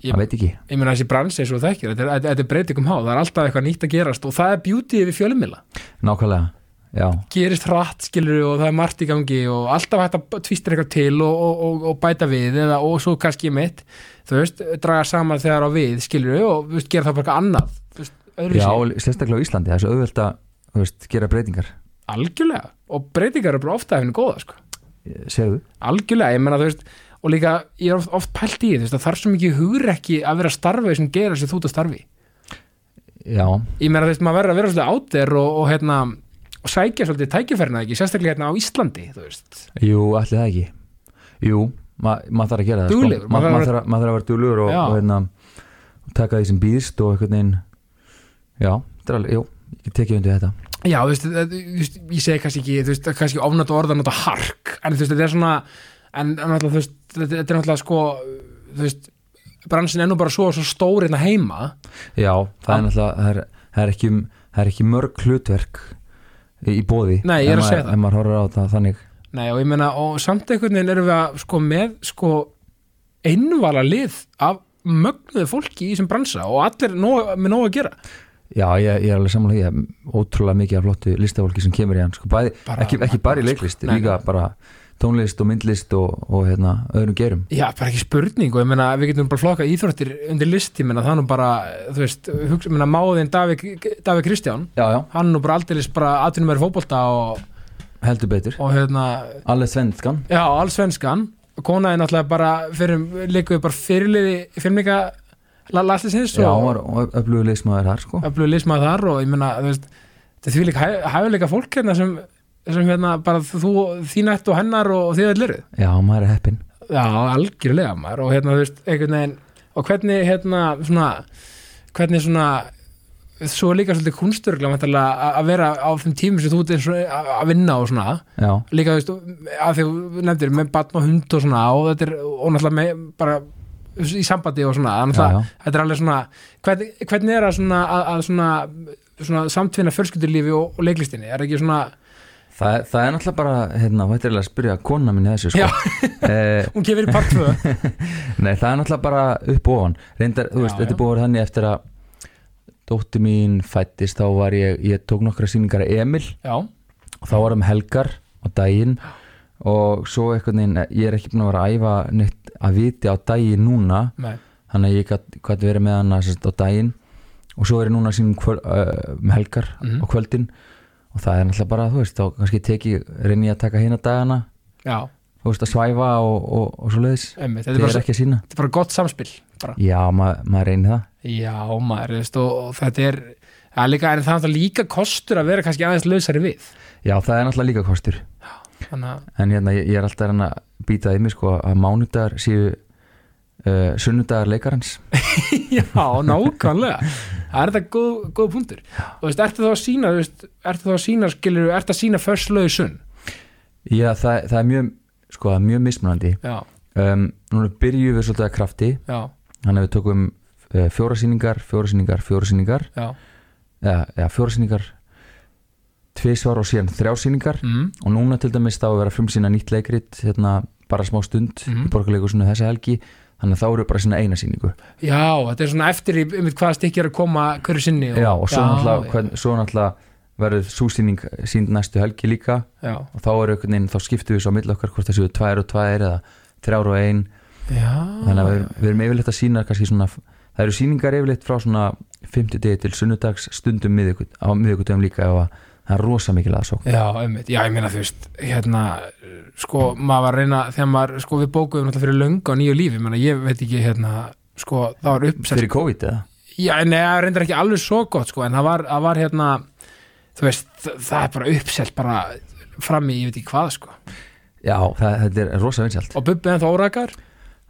S1: Ég-
S2: maður veit ekki
S1: ég meina þessi bransi eins og þú þekkir, þetta er, þetta- þetta er breytingum há, það er alltaf eitthvað nýtt að gerast og það er beauty við fjölumila,
S2: nákvæmlega, já,
S1: gerist hratt skilur og það er margt í gangi og alltaf hægt að tvistir eitthvað til og, og, og, og bæta við eða, og svo kannski mitt þú veist, draga saman þegar á við skilur og þú veist, gera það bara eitthvað annað þú veist,
S2: já,
S1: öðruvísi.
S2: og sérstaklega á Íslandi það er svo auðvelt að, þú veist, gera breytingar
S1: algjörlega og breytingar eru bara ofta að finna góða sko
S2: Eh, segðu,
S1: algjörlega, ég menna þú veist og líka, ég er oft, oft pælt í því, þú veist, það þarf svo mikið hugrekki að vera að starfa sem gera sem þú ert að starfi
S2: já,
S1: ég menna þú veist, maður verður að vera svolítið áttir og, og hérna, og sækja svolítið tækifærna ekki, sérstaklega hérna á Íslandi þú veist,
S2: jú, allir það ekki jú, ma, maður þarf að gera það
S1: Duglegur,
S2: sko. Ma,
S1: maður
S2: maður,
S1: þarf
S2: þarf að, maður þarf að vera duglegur og,
S1: Já.
S2: og hérna, taka því sem býðst og einhvern veginn já, þetta er alveg, jú, ég get tekið undir þetta
S1: já, þú veist, það- þú veist ég segi kannski ekki, þú veist, kannski ofnætt orða nota hark, en þú veist, þetta er svona en en náttúrulega, þú veist, þetta þetta er náttúrulega sko, þú veist bransin ennú bara svo, svo stór hérna heima
S2: Já, það er
S1: Am-
S2: náttúrulega það er, það er, ekki, það er ekki mörg hlutverk í, í bóði
S1: Nei, ég er
S2: Ef
S1: að segja
S2: maður-
S1: það.
S2: Ef maður horfir á það þannig
S1: Nei, og ég meina, og samt einhvern veginn erum við að sko með sko einvala lið af mögnuðu fólki í þessum bransa og allir nóg, með nóg að gera
S2: Já, ég, ég er alveg samlega ég er ótrúlega mikið af flottu listafólki sem kemur í hann sko, bæði,
S1: Bara sko.
S2: ekki, ekki bara í leiklist,
S1: Nei,
S2: líka bara tónlist og myndlist og, og hérna, öðrum gerum
S1: Já, bara ekki spurning og ég meina, við getum bara flokkað íþróttir undir list, ég meina, það er nú bara þú veist, hugsa, ég meina, máðin Davík Davík Kristján,
S2: Já, já,
S1: hann er nú bara aldrei bara atvinnum er fótbolta og,
S2: heldur betur
S1: og hérna,
S2: Alveg svenskan
S1: já, allsvenskan konaði náttúrulega bara fyrir, líkuði bara fyrirliði filmika lastisins
S2: Já, hún var öflugur liðsmaður þar sko
S1: öflugur liðsmaður þar og ég meina þú veist, þetta er því líka hæfileika fólk hérna sem, sem hérna bara þú, þín ættu og hennar og, og þið allir eruð.
S2: Já, maður er heppin
S1: já, algjörlega maður og hérna þú veist, einhvern veginn og hvernig hérna svona hvernig svona svo er líka svolítið kunsturgla væntanlega, að að vera á þeim tímum sem þú ert eins og að að vinna og svona
S2: Já,
S1: líka þú veist, að því þú nefndir með batn og hund og svona og þetta er og náttúrulega með, bara í sambandi og svona, þannig
S2: Já,
S1: að
S2: já.
S1: þetta er alveg svona hvernig, hvernig er að svona að, að svona, svona samtvinna fjölskyldurlífi og, og leiklistinni, er ekki svona
S2: það, það er náttúrulega bara, hérna, vættilega að spyrja kona minni þessu
S1: Já.
S2: sko Eh,
S1: hún gefur í part 2
S2: Nei, það er náttúrulega bara upp og ofan Reyndar, þú
S1: Já,
S2: veist,
S1: já.
S2: þetta er búið að vera þannig eftir að dóttir mín fættist þá var ég, ég tók nokkra sýningar að Emil
S1: já,
S2: og þá var það með helgar og daginn og svo einhvern veginn, eh, ég er ekki búin að vera að æfa neitt að viti á daginn núna
S1: nei,
S2: þannig að ég gat, gat verið með hann sérst, á daginn og svo er ég núna sínum kvöl, uh, með helgar
S1: Mhm.
S2: á kvöldin og það er náttúrulega bara, þú veist, þá kannski teki reyni ég að taka hérna dagana
S1: já,
S2: þú veist, að svæfa og, og, og svo leiðis
S1: emmi þetta
S2: þetta
S1: er
S2: er
S1: bara,
S2: ekki að sína
S1: þetta er bara gott samspil bara.
S2: Já, ma maður reynir það
S1: já, maður, þú veist og, og þetta er, það er líka, en það er náttúrulega líka kostur að vera kannski aðeins lausari við
S2: Já, það er náttúrulega líka kostur
S1: þannig að,
S2: En hérna, ég, ég er alltaf að reyna að býta í mig sko að mánudagar séu uh, sunnudagar leikarans
S1: já, nákvæmlega það er þetta góð, góð punktur og þú veist, ertu þá að sína, þú veist, ertu þá að sína skilur, ertu að sína förslöðu sunn
S2: Já, það, það er mjög, sko, það er mjög mismunandi
S1: já,
S2: um, Núna byrjum við svolítið að krafti
S1: já,
S2: eh, Þannig að við tökum uh, fjóra sýningar, fjóra sýningar, fjóra sýningar
S1: já
S2: eða, eða fjórsýningar tvisvar og síðan þrjásýningar
S1: mm.
S2: og núna til dæmis þá að vera frumsýna nýtt leikrit hérna bara smá stund
S1: Mhm.
S2: í borgarleikusinu þessa helgi þannig að þá eru bara sína eina sýningu
S1: Já, þetta er svona eftir í, um hvað stikki er að koma hverju sinni
S2: já, og svo
S1: Já,
S2: náttúrulega,
S1: já.
S2: hvern, svo náttúrulega verður súsýning sínd næstu helgi líka
S1: Já,
S2: og þá eru einhvern veginn, þá skiptum við svo á milli okkar hvort það séu tvær og tvær eða þrjár og ein
S1: já Mm.
S2: þannig að við, við erum yfirleitt að sína kannski svona, það eru síningar yfirleitt frá svona 50 degi til sunnudags stundum miðvikut, á miðvikutum líka og að það er rosa mikil aðsókn
S1: Já, einmitt, já, ég meina þú veist hérna, sko, maður var að reyna þegar maður, sko, við bókuðum náttúrulega fyrir löngu á nýju lífi, ég meina, ég veit ekki, hérna sko, það var uppsett,
S2: fyrir COVID eða?
S1: já, nei, það reyndar ekki alveg svo gott, sko, en það var, það var hérna, þú veist, þ- það er bara uppsett bara fram í, ég veit ekki hvað, sko
S2: Já, það, þetta er rosa vinsælt
S1: og Bubbi ennþá órakaður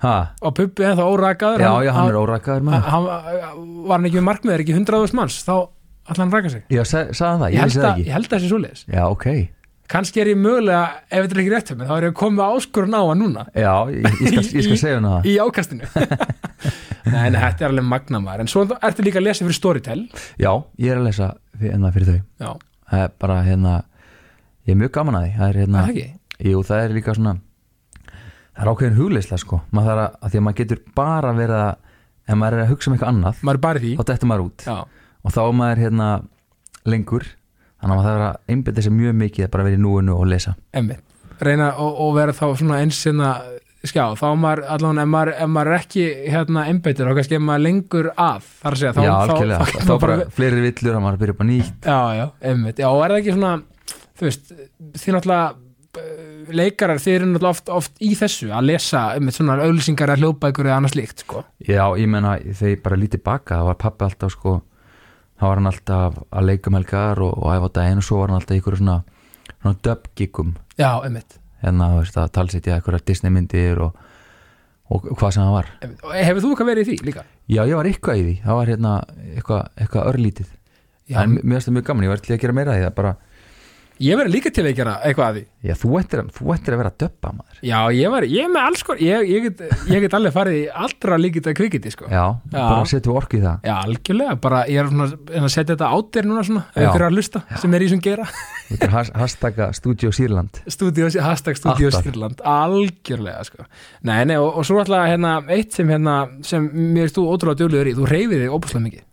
S2: ha,
S1: og Bubbi ennþá órakaður
S2: Já, já, hann er órakaður
S1: hann,
S2: maður
S1: hann, var hann ekki með markmiður, ekki 100.000 manns þá ætla hann að raka sig
S2: Já, sa- sagði hann það,
S1: ég
S2: ég
S1: held,
S2: vissi það
S1: að,
S2: ekki
S1: ég held að þessi svoleiðis
S2: Já, ok,
S1: kannski er ég mögulega, ef þetta er ekki rétt um þá er ég að koma með áskorun á hann núna
S2: já, ég, ég, skal, ég skal segja hann það
S1: í ákastinu nei, nei, þetta er alveg magnamar en svo ertu líka að lesa fyrir Storytel
S2: Já, ég er að lesa fyrir, hérna, fyrir þau
S1: já,
S2: Það er bara, hérna, ég er mjög gaman að því Það er,
S1: er
S2: hérna,
S1: það ekki
S2: Jú, það er líka svona það er ákveðin hugleysla sko maður þarf að, að því að maður getur bara verið að ef maður er að hugsa um eitthvað annað
S1: maður er bara í því
S2: þá dettur maður út
S1: já,
S2: og þá er maður hérna lengur þannig að maður þarf að einbytta sér mjög mikið að bara verið í núinu og lesa
S1: emmi reyna og, og vera þá svona eins sinna skjá, þá er maður allan ef maður, ef maður er ekki hérna einbeitur þá kannski ef maður er lengur að þar að segja, þá,
S2: já,
S1: þá,
S2: algjörlega, þá,
S1: þá, þá,
S2: bara
S1: bara
S2: fleiri villur að maður byrja upp á nýtt
S1: Já, já, einmitt, já, og er það ekki svona þú veist, þið náttúrulega eh, leikarar, þið eru náttúrulega oft, oft í þessu að lesa, einmitt svona auðlýsingar að hljópa ykkur eða annars líkt, sko
S2: já, ég menna þegar ég bara lítið baka þá var pappi alltaf sko þá var hann alltaf að leika með helgar og, og æfa á daginn og svo var hann alltaf í ykkur svona, svona döbgikum
S1: Já, einmitt,
S2: hérna, þú veist, að talsitja eitthvað Disney myndir og, og hvað sem það var
S1: einmitt. Og hefur þú eitthvað verið í því líka?
S2: Já, ég var eitthvað í því, það var hérna eitthvað, eitthvað örlítið
S1: Já,
S2: en mér mér finnst það mjög gaman, ég var til í að gera meira af því það bara,
S1: ég verið líka til að gera eitthvað að því
S2: já, þú ættir, að- þú ættir að vera að döbba maður
S1: Já, ég var, ég er með alls sko ég, ég, get, ég get alveg farið í allra líkita kvikiti, sko
S2: Já, bara setja orku í það
S1: Já, algjörlega, bara ég er svona en að setja þetta átir núna svona, ef
S2: Já.
S1: ykkur er að hlusta sem er í sem gera,
S2: Þú ættir að has- hashtagga Studio Sýrland
S1: Studios, hashtag Studios
S2: Alltaf.
S1: Írland, algjörlega sko. Nei, nei, og, og svo alltaf hérna, eitt sem, hérna, sem mér erst þú ótrúlega djúlegur í, þú reyfið þig óbúslega mikið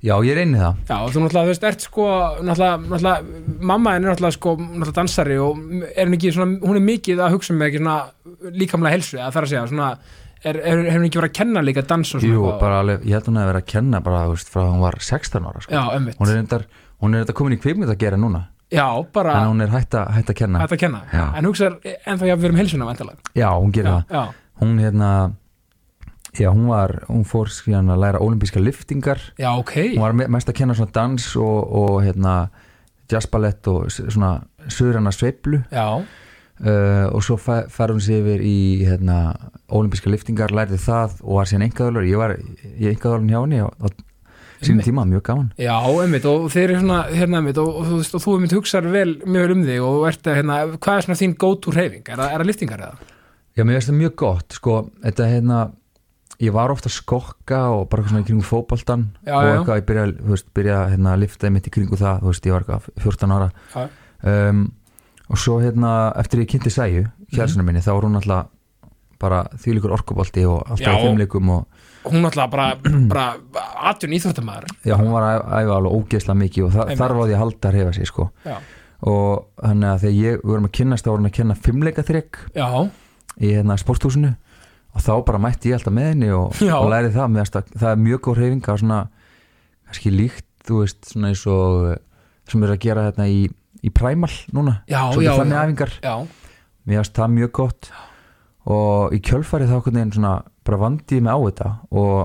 S2: Já, ég reyni það
S1: Já, og þú náttúrulega, þú veist, ert sko náttúrulega, náttúrulega mamma henni er náttúrulega sko náttúrulega dansari og er henni ekki svona, hún er mikið að hugsa um ekki svona líkamlega helsu, eða þar að segja, svona er, er, hefur henni ekki verið að kenna líka dans og svona
S2: Jú,
S1: eitthvað?
S2: bara alveg, ég held hún að vera að kenna bara, þú veist, frá að hún var 16 ára sko.
S1: Já, ömmit,
S2: Hún er þetta, hún er þetta komin í kvikmynd að gera núna
S1: já, bara
S2: Þannig að hún er hætt að, hætt að kenna
S1: hægt að kenna
S2: Já.
S1: en hugsaðar ennþá jafnir um helsuna væntanlega.
S2: Já, hún gerir það
S1: já,
S2: Hún hérna, já, hún var, hún fór skríðan að læra olimpíska liftingar
S1: já, já, ok
S2: hún var me- mest að kenna svona dans og, og hérna jazzballett og s- svona söðrana sveiflu
S1: Já,
S2: uh, og svo fa- fær hún sér yfir í hérna olimpíska liftingar, lærði það og var síðan engaðalur, ég var í engaðalun hjá henni og, og sínum tíma, mjög gaman
S1: Já, einmitt, og þeir eru svona, hérna, einmitt, og, og, þú veist, og þú einmitt hugsar vel, mjög vel um þig og ert að, hérna, hvað er svona þín go-to reyfing? Er það er það liftingar eða?
S2: Já, mér finnst það mjög gott, sko, þetta hérna ég var ofta að skokka og bara eitthvað svona í kringum fótboltan
S1: Já, já,
S2: og
S1: já.
S2: eitthvað, ég byrjaði, þú veist, byrjaði hérna, að lifta mitt í kringu það, þú veist, ég var eitthvað 14 ára
S1: Já.
S2: um, og svo hérna, eftir ég kynnti sæju
S1: Mhm.
S2: kjærsunum minni, þá var hún alltaf bara þvílíkur orkubolti og alltaf
S1: Já.
S2: í fimmleikum og
S1: Hún náttúrulega bara, bara atjun íþróttamæður.
S2: já, hún var að æfa alveg ógeðslega mikið og það,
S1: Einmitt.
S2: þar var því að halda að reyfa sér, sko
S1: Já.
S2: og þannig að þegar ég, við vorum að kynnast þá var hún að kenna fimmleikaþrygg
S1: Já,
S2: í hérna sporthúsinu og þá bara mætti ég alltaf með henni og,
S1: Já.
S2: og lærið það með að það er mjög góð reyfing það er svona kannski líkt þú veist svona eins og eh, sem er að gera þetta í, í præmal núna
S1: Já,
S2: Svolítið
S1: já,
S2: þannig
S1: já.
S2: æfingar
S1: já,
S2: mér finnst það mjög gott og í kjölfarið þá hvernig einn svona bara vandi ég mig á þetta og,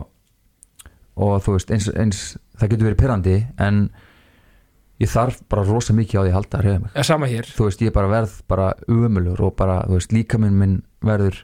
S2: og þú veist eins, eins það getur verið perandi en ég þarf bara rosa mikið á því að halda að reyða mig
S1: eða sama hér.
S2: þú veist, ég bara verð bara ömulur og bara, þú veist, líkaminn minn verður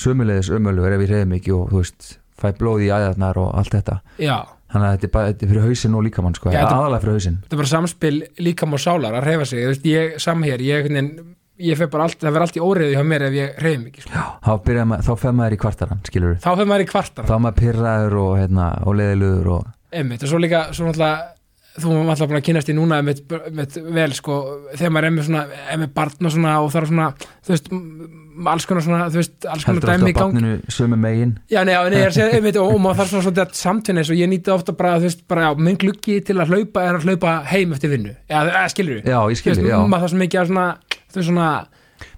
S2: sömulegðis ömulur ef ég reyði mikið og, þú veist, fæ blóð í æðarnar og allt þetta.
S1: Já,
S2: Þannig að þetta er bara þetta er fyrir hausinn og líkamann, sko,
S1: Já,
S2: ja,
S1: þetta-
S2: aðalega fyrir hausinn.
S1: þetta er bara samspil líkam og sálar að reyfa sig, þú veist, ég, sama hér, ég, hvernig, ég fer bara allt, það verður allt í óriðu hjá mér ef ég reyfi mikið, sko.
S2: Já, þá byrja maður, þá fer maður í kvartaran, skilur við.
S1: Þá fyrir maður í kvartar,
S2: Þá er maður pyrraður og, hérna, og leiðilugur og,
S1: einmitt, og svo líka, svo náttúrulega, þú erum alltaf búin að kynast í núna með, með vel sko þegar maður er með svona, er með barn og svona og þarf svona, þú veist m- alls konar svona, þú veist, alls konar
S2: heldur alltaf
S1: dæmi í
S2: að
S1: gangi
S2: barninu sömu megin
S1: Já, nei, já, nei, ég er að segja, einmitt, og, og maður þarf svona svolítið að samtvinna eins og ég nýti ofta bara, þú veist, bara, já, minn gluggi til að hlaupa er að hlaupa heim eftir vinnu, já, eða, skilur við
S2: já, ég skilji, já,
S1: maður þarf svo mikið að svona, þú veist, svona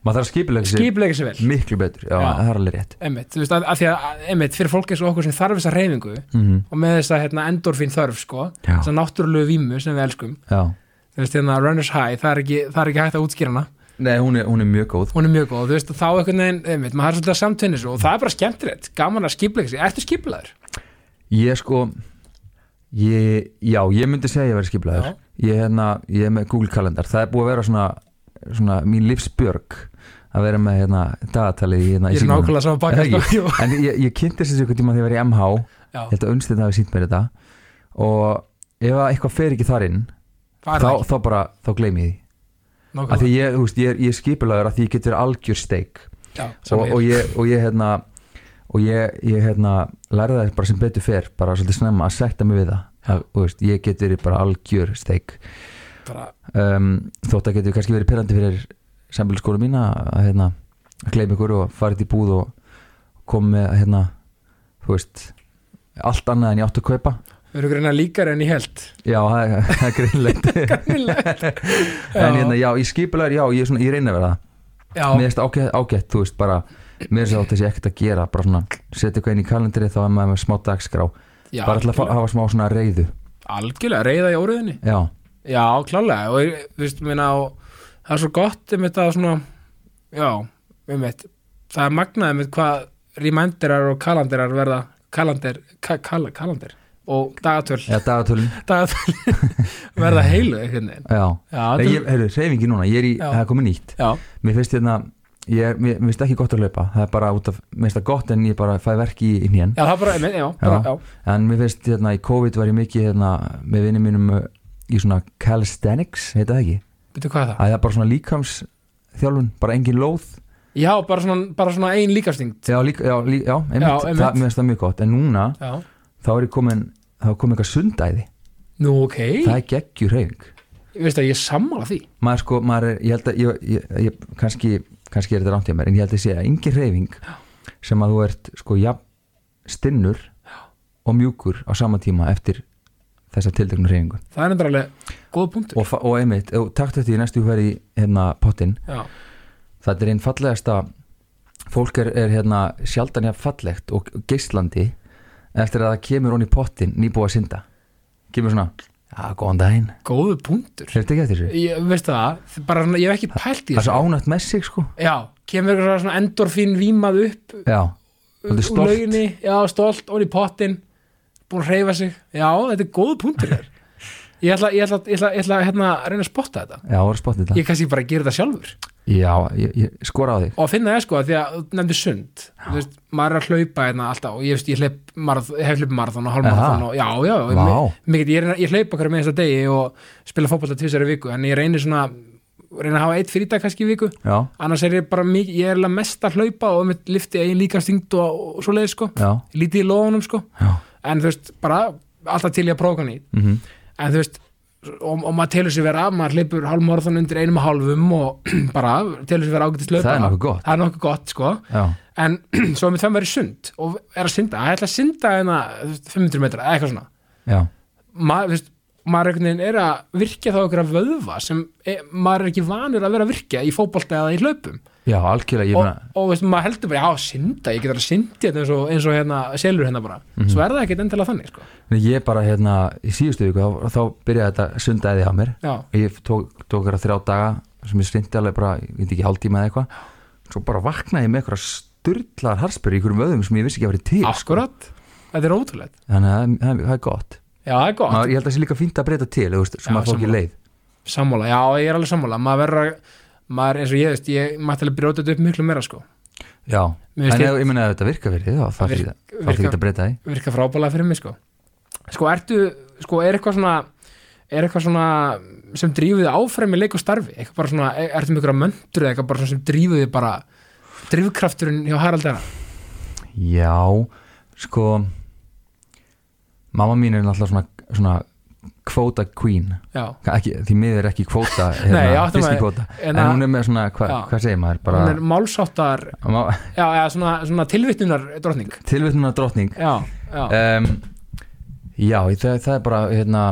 S2: maður þarf að skipulega sér
S1: skipleika sér vel
S2: miklu betur, já,
S1: Já.
S2: það er alveg rétt
S1: einmitt, þú veist, að, að því að, einmitt, fyrir fólk eins og okkur sem þarf þessa reyfingu
S2: mm
S1: og með þessa, hérna, endorfín þörf, sko
S2: Já.
S1: þessa náttúrulegu vímu sem við elskum
S2: já.
S1: þú veist, hérna, runner's high, það er ekki, það er ekki hægt að útskýra hana,
S2: Nei, hún er, hún er mjög góð
S1: hún er mjög góð, þú veist, þá einhvern veginn, einmitt, maður er svolítið að samtvinna svo og það er bara skemmtilegt, gaman að skipleika sér, ertu skiplaður?
S2: Ég sko ég, Já, ég myndi segja að ég verið skiplaður
S1: Já.
S2: ég, hérna, ég er með Google kalendar Það er búið að vera svona, svona mín lífsbjörg að vera með hérna, dagatalið í, hérna, í
S1: Ég er
S2: símanum.
S1: nákvæmlega saman baka,
S2: Eða
S1: sko, jú.
S2: En ég, ég kynnti þessi ykkur tíma þegar ég var í MH
S1: Já.
S2: Ég held að unnstæðna hafi sínt mér þetta og ef að eitthvað fer ekki þar inn
S1: Það er
S2: þá,
S1: það ekki,
S2: þá bara, þá gleymi ég því að
S1: nákvæmlega.
S2: því ég, þú veist, ég, er- ég er skipulegur að því ég get verið algjör steik
S1: Já,
S2: og,
S1: sama hér.
S2: og ég, og ég hérna og ég, ég hérna lærði það bara sem betur fer bara svolítið snemma að sekta mig við það að, þú veist, ég get verið bara algjör steik
S1: bara,
S2: um, þótt að getur kannski verið perandi fyrir sambilskóla mína að hérna að gleyma ykkur og farið í búð og koma með hérna þú veist allt annað en ég átti að kaupa
S1: við erum greina líkar en ég held
S2: já, það er- það er greinlegt en hérna, já, ég skipulegur, já, ég, er svona, ég reyna að vera það
S1: já,
S2: mér finnst ágætt, ágætt, þú veist bara mér finnst átt þessi ekkert að gera bara svona, setja eitthvað inn í kalendri þá er maður með smá dagskrá
S1: já,
S2: bara alltaf að hafa smá svona reyðu
S1: algjörlega, reyða í óriðinni
S2: já,
S1: Já, klálega og ég- þú veist, minna, og það er svo gott um þetta svona, já, um þetta það er magnað um hvað reminderar og kalanderar verða kalandir, ka, kal, kalandir og dagatöl,
S2: eða dagatölun
S1: dagatöl verða heilu einhvern veginn
S2: já,
S1: Já,
S2: Nei,
S1: þetta-
S2: ég, heyrðu, reyfingi núna, ég er í,
S1: Já.
S2: það er komið nýtt
S1: já,
S2: mér finnst hérna, ég, mér, mér finnst ekki gott að hlaupa það er bara út af, mér finnst það gott en ég bara fæ verki í, í nén
S1: já, það bara, einmitt, já, bara, já.
S2: en mér finnst hérna, í COVID var ég mikið hérna, með vinnum mínum uh, í svona calisthenics, heita það ekki
S1: Veitu hvað er það?
S2: að það er bara svona líkams bara engin lóð
S1: Já, bara svona, bara svona ein líkastingt
S2: Já, líka, já, líka, já, einmitt,
S1: Já, einmitt.
S2: Það, mér finnst það mjög gott En núna,
S1: Já,
S2: þá er ég komin þá er komin eitthvað sundæði
S1: nú ok
S2: Það er geggjur reyfing
S1: Ég veist að ég er sammála því
S2: Maður sko, maður er, ég held að ég, ég, ég, kannski, kannski er þetta rámt hjá mér En ég held að sé að engin reyfing sem að þú ert sko jafn stinnur og mjúkur á sama tíma eftir þessa tildögnu reyfingu
S1: Það er endur alveg góð punktur
S2: og, fa- og einmitt, ef þú takt þetta í næstu hver í hérna pottinn
S1: Já,
S2: það er einn fallegasta fólk er, er hérna sjaldan jafn fallegt og geislandi eftir að það kemur hon í pottin nýbúið að synda kemur svona, já, góðan daginn
S1: góðu punktur
S2: hefur þetta ekki eftir þessu?
S1: Ég veist það, bara svona, ég hef ekki pælt í
S2: það er
S1: þessu
S2: svo ánætt með sig sko
S1: Já, kemur eitthvað svona endorfín vímað upp
S2: já, þetta er
S1: úr
S2: stolt
S1: lauginni, já, stolt, onni í pottin búin að hreyfa sig, já, þetta er góð punktur þér ég ætla, ég ætla, ég ætla, ég ætla hérna, að reyna að spotta þetta
S2: já, voru spottið þetta
S1: ég kannski bara að gera þetta sjálfur
S2: já, ég, ég skora á þig
S1: og að finna það sko, af því að þú nefndir sund þú veist, maður er að hlaupa hérna alltaf og ég, veist, ég hleyp marð, hef hleyp marathon og
S2: Aha.
S1: halvmarathon og já, já, já,
S2: Vá.
S1: mi- mikið, ég, reyna- ég hleypa hverju með þessa degi og spila fótbolta tvisar í viku, en ég reynir svona reyna að hafa eitt frídag kannski í viku
S2: já,
S1: annars er ég bara mikið, ég er alveg mest að hlaupa og mitt lifti eigin líka stingt og, og svo leiði sko,
S2: já,
S1: lítið í loðunum sko
S2: já
S1: en þú veist, bara alltaf til ég að prófa hann í
S2: mm
S1: en þú veist, og, og maður telur sér vera maður hleypur hálfmorðan undir einum og hálfum og bara telur sér vera ágætist löpa
S2: Það er nokkuð gott.
S1: það er nokkuð gott sko
S2: já,
S1: en svo er mér það verið sund og er að synda, það er að synda hérna þú veist, 500 metra, eða eitthvað svona
S2: já,
S1: Ma, þú veist, maður einhvern veginn er að virkja þá einhverja vöðva sem e, maður er ekki vanur að vera að virkja í fótbolta eða í hlaupum
S2: já, algjörlega ég
S1: og,
S2: meina,
S1: og veist, maður heldur bara, já, synda ég getur að syndi þetta eins og, eins og hérna, selur hérna bara
S2: Mhm.
S1: svo er það ekkert endilega þannig, sko
S2: ég bara hérna í síðustu viku, þá, þá byrjaði þetta sundæði á mér
S1: já,
S2: ég tók, tók hérna þrjá daga sem ég skyndi alveg bara, ég veit ekki hálftíma eða eitthvað svo bara vaknaði ég með eitthvað styrlaðar harspyrir í einhverjum vöðum sem ég vissi ekki að verið til sko.
S1: akkurat þetta er ótrúlegt,
S2: þannig að það er- það er gott
S1: já, það er gott
S2: maður, ég held að það sé líka fínt að breyta til þú veist,
S1: Já,
S2: sem maður fá ekki
S1: sammála.
S2: leið
S1: sammála, já, ég er alveg sammála maður verður að, maður eins og ég veist ég mætti alveg brjóta þetta upp miklu meira, sko
S2: já,
S1: Mér finnst
S2: en
S1: ég-
S2: ég, ég meina að þetta virka fyrir þig, þá þarf
S1: Virk-
S2: ekki að- þarf ekki
S1: virkar-
S2: að breyta því
S1: virka frábælega fyrir mig, sko sko, ertu, sko, er eitthvað svona er eitthvað svona sem drífuði áfram í leik og starfi, eitthvað bara svona er- ertu mikilvæg möndur eða eitthvað bara svona sem drífuði bara, drifkrafturinn hjá Haraldina
S2: já, sko mamma mín er náttúrulega svona, svona kvóta queen
S1: já,
S2: ekki, því miður er ekki kvóta hérna,
S1: Nei, ég átta mig.
S2: Disney-kvóta.
S1: En
S2: en
S1: að-
S2: hún er með svona, hva,
S1: Já.
S2: hvað segir maður bara,
S1: hún er málsáttar
S2: má,
S1: já, já, svona, svona tilvittunar drottning
S2: tilvitnuna drottning
S1: já, já,
S2: um, já, það, það er bara hérna,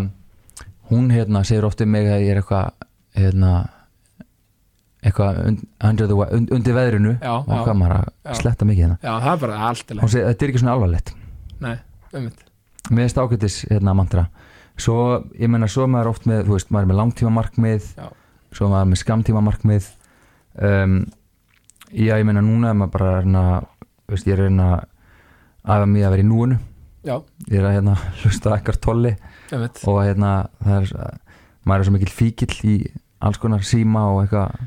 S2: hún hérna segir oft um mig að ég er eitthvað hérna, eitthvað und, under the, we- und, undir veðrinu
S1: Já,
S2: og
S1: já.
S2: hvað maður
S1: Já.
S2: að sletta mikið hérna
S1: já, það er bara allt til
S2: hún segir, þetta er ekki svona alvarlegt
S1: nei, ummitt
S2: mér er stákvætis hérna mantra svo, ég meina, svo er maður oft með þú veist, maður er með langtíma markmið
S1: Já.
S2: svo er maður með skamtíma markmið um, já, ég meina, núna er maður bara að reyna, þú veist, ég er að reyna að að mér að vera í núinu
S1: já,
S2: ég er að hérna hlusta ekkert tolli
S1: ummitt
S2: og hérna, það er maður er svo mikil fíkil í alls konar síma og eitthvað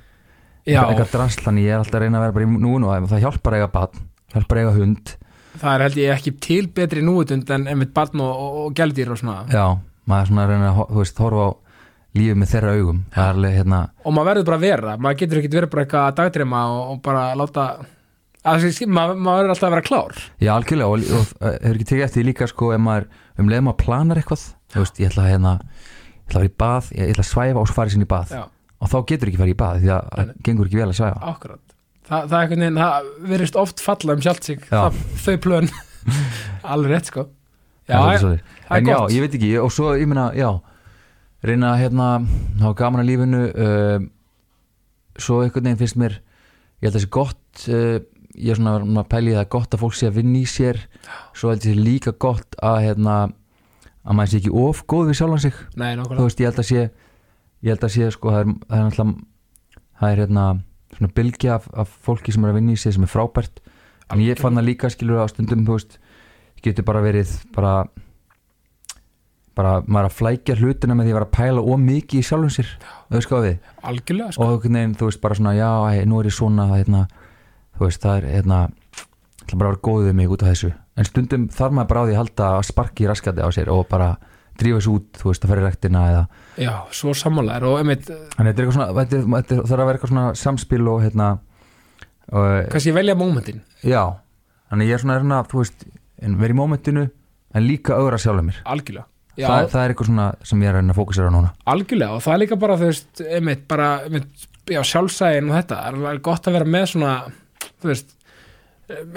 S1: já,
S2: eitthvað drasl, þannig ég er alltaf að reyna að vera bara í núinu og það hjálpar að eiga barn, hjálpar að eiga hund
S1: það er held ég ekki til betri núutund en ummitt barn og, og, og gældir og svona
S2: Já, maður er svona að reyna að ho- þú veist, horfa á lífið með þeirra augum það er alveg hérna,
S1: og maður verður bara að vera, maður getur ekki verið bara eitthvað að dagdreima og, og bara láta að, þessi- maður, maður verður alltaf að vera klár
S2: já algjörlega og, og uh, hefur ekki tekið eftir því líka sko ef maður um leiðum að planar eitthvað þú veist, ég ætla að hérna ég ætla að vera í bað, ég ætla að svæfa og svo farið sinni í bað
S1: já,
S2: og þá getur ekki farið í bað því að það gengur ekki vel að svæfa
S1: akkurat Þa, það er einhvern veginn, það verðist oft falla um sjálft sig,
S2: Já.
S1: það, þau plön alveg rétt sko já,
S2: Það er
S1: já,
S2: svoleiðis.
S1: það er
S2: en já,
S1: gott.
S2: ég veit ekki, og svo ég meina, já reyna að hérna, hafa gaman að lífinu um, svo einhvern veginn finnst mér ég held að það sé gott uh, ég er svona maður pæli það er gott að fólk sé að vinna í sér svo held ég sé líka gott að hérna, að maður sé ekki of góð við sjálfan sig
S1: nei,
S2: þú
S1: nákvæmlega
S2: veist, ég held að sé ég held að sé, sko, það er, það er náttúrulega það er hérna, svona bylgja af, af fólki sem er að vinna í sig sem er frábært en ég fann það líka, skilur, á stundum þú veist, getur bara verið bara bara, maður er að flækja hlutina með því að vera að pæla of mikið í sjálfum sér, þú veist hvað við
S1: algjörlega sko,
S2: og einhvern veginn, þú veist, bara svona, já, hei, nú er ég svona það, hérna, þú veist, það er, hérna ætla bara að vera góð við mig út af þessu en stundum þarf maður bara á því að halda að sparki raskandi á sér og bara drífa sér út, þú veist, að fara í rektina eða
S1: já, svo sammálaður og einmitt,
S2: Þannig þetta er eitthvað svona, þetta er, þetta er, það er að vera eitthvað svona samspil og hérna, og,
S1: kannski velja mómentin,
S2: já, þannig ég er svona, er svona þú veist, en verið í mómentinu, en líka ögra sjálfum mér.
S1: algjörlega já,
S2: Það, það er eitthvað svona sem ég er að reyna að fókusera á núna.
S1: algjörlega og það er líka bara þú veist, einmitt, bara einmitt, já, sjálfsæðin og þetta, það er alveg gott að vera með svona, þú veist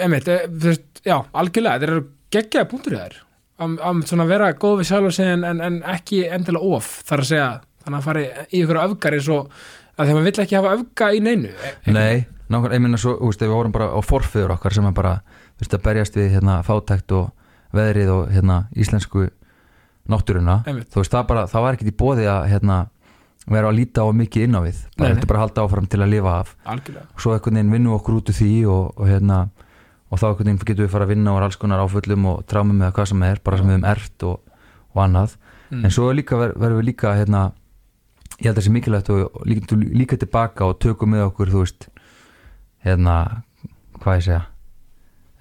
S1: einmitt, eh, þú veist, já, algjörlega þetta eru geggjaði búndur í þær að að svona vera góð við sjálf og síðan en, en ekki endilega of, þar að segja þannig að fari í ykkur öfgar eins og að því að maður vill ekki hafa öfga í neinu e-
S2: Nei, nákvæmlega, ég minna svo, þú veist, ef við vorum bara á forföður okkar sem er bara, þú veist, að berjast við hérna fátækt og veðrið og hérna íslensku náttúruna,
S1: Einmitt.
S2: þú veist, það bara, það var ekkit í bóði að hérna vera að líta á mikið inn á við,
S1: Nei,
S2: bara,
S1: nei.
S2: þetta bara að halda áfram til að lifa af.
S1: algjörlega,
S2: og svo einhvern veginn vinnum við okkur út úr því og, og hérna og þá einhvern veginn getum við fara að vinna úr alls konar áföllum og trámum eða hvað sem er, bara sem við um ert og, og annað,
S1: Mm.
S2: en svo er líka ver- verðum við líka hérna, ég held að það sé mikilvægt og, og líka, líka tilbaka og tökum með okkur þú veist, hérna hvað ég segja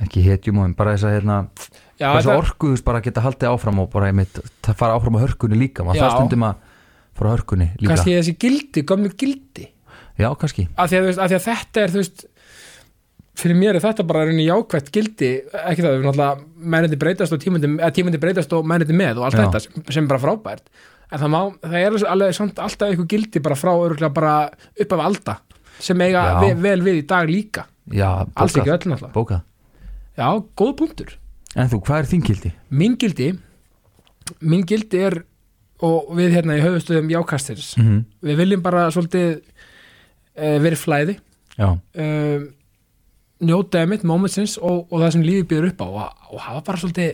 S2: ekki hetjum og bara þess að hérna
S1: Mm. já,
S2: bara þess
S1: þetta-
S2: að orku, þú veist, bara geta haldið áfram og bara einmitt, það fara áfram á hörkunni líka maður
S1: Já.
S2: það stundum að fara á hörkunni líka
S1: kannski þessi gildi, gömlu gildi
S2: já, kannski,
S1: að því að, þú veist, að því að þetta er þú veist fyrir mér er þetta bara rauninni jákvætt gildi ekki það, við náttúrulega menniti breytast og tímandi, tímandi breytast og menniti með og allt
S2: Já.
S1: þetta sem, sem er bara frábært en það, má, það er alveg samt alltaf eitthvað gildi bara frá örgulega bara upp af alda sem eiga
S2: Já.
S1: ve, vel við í dag líka
S2: já,
S1: alls ekki öll
S2: bókað,
S1: náttúrulega
S2: bókað.
S1: já, góð punktur
S2: en þú, hvað er þín kildi?
S1: mín gildi mín gildi er og við hérna í höfustuðum jákastins
S2: Mm -hmm.
S1: við viljum bara svolítið e, verið flæði
S2: Já,
S1: um, njóta emitt momentsins og, og það sem lífið býður upp á og, og hafa bara svolítið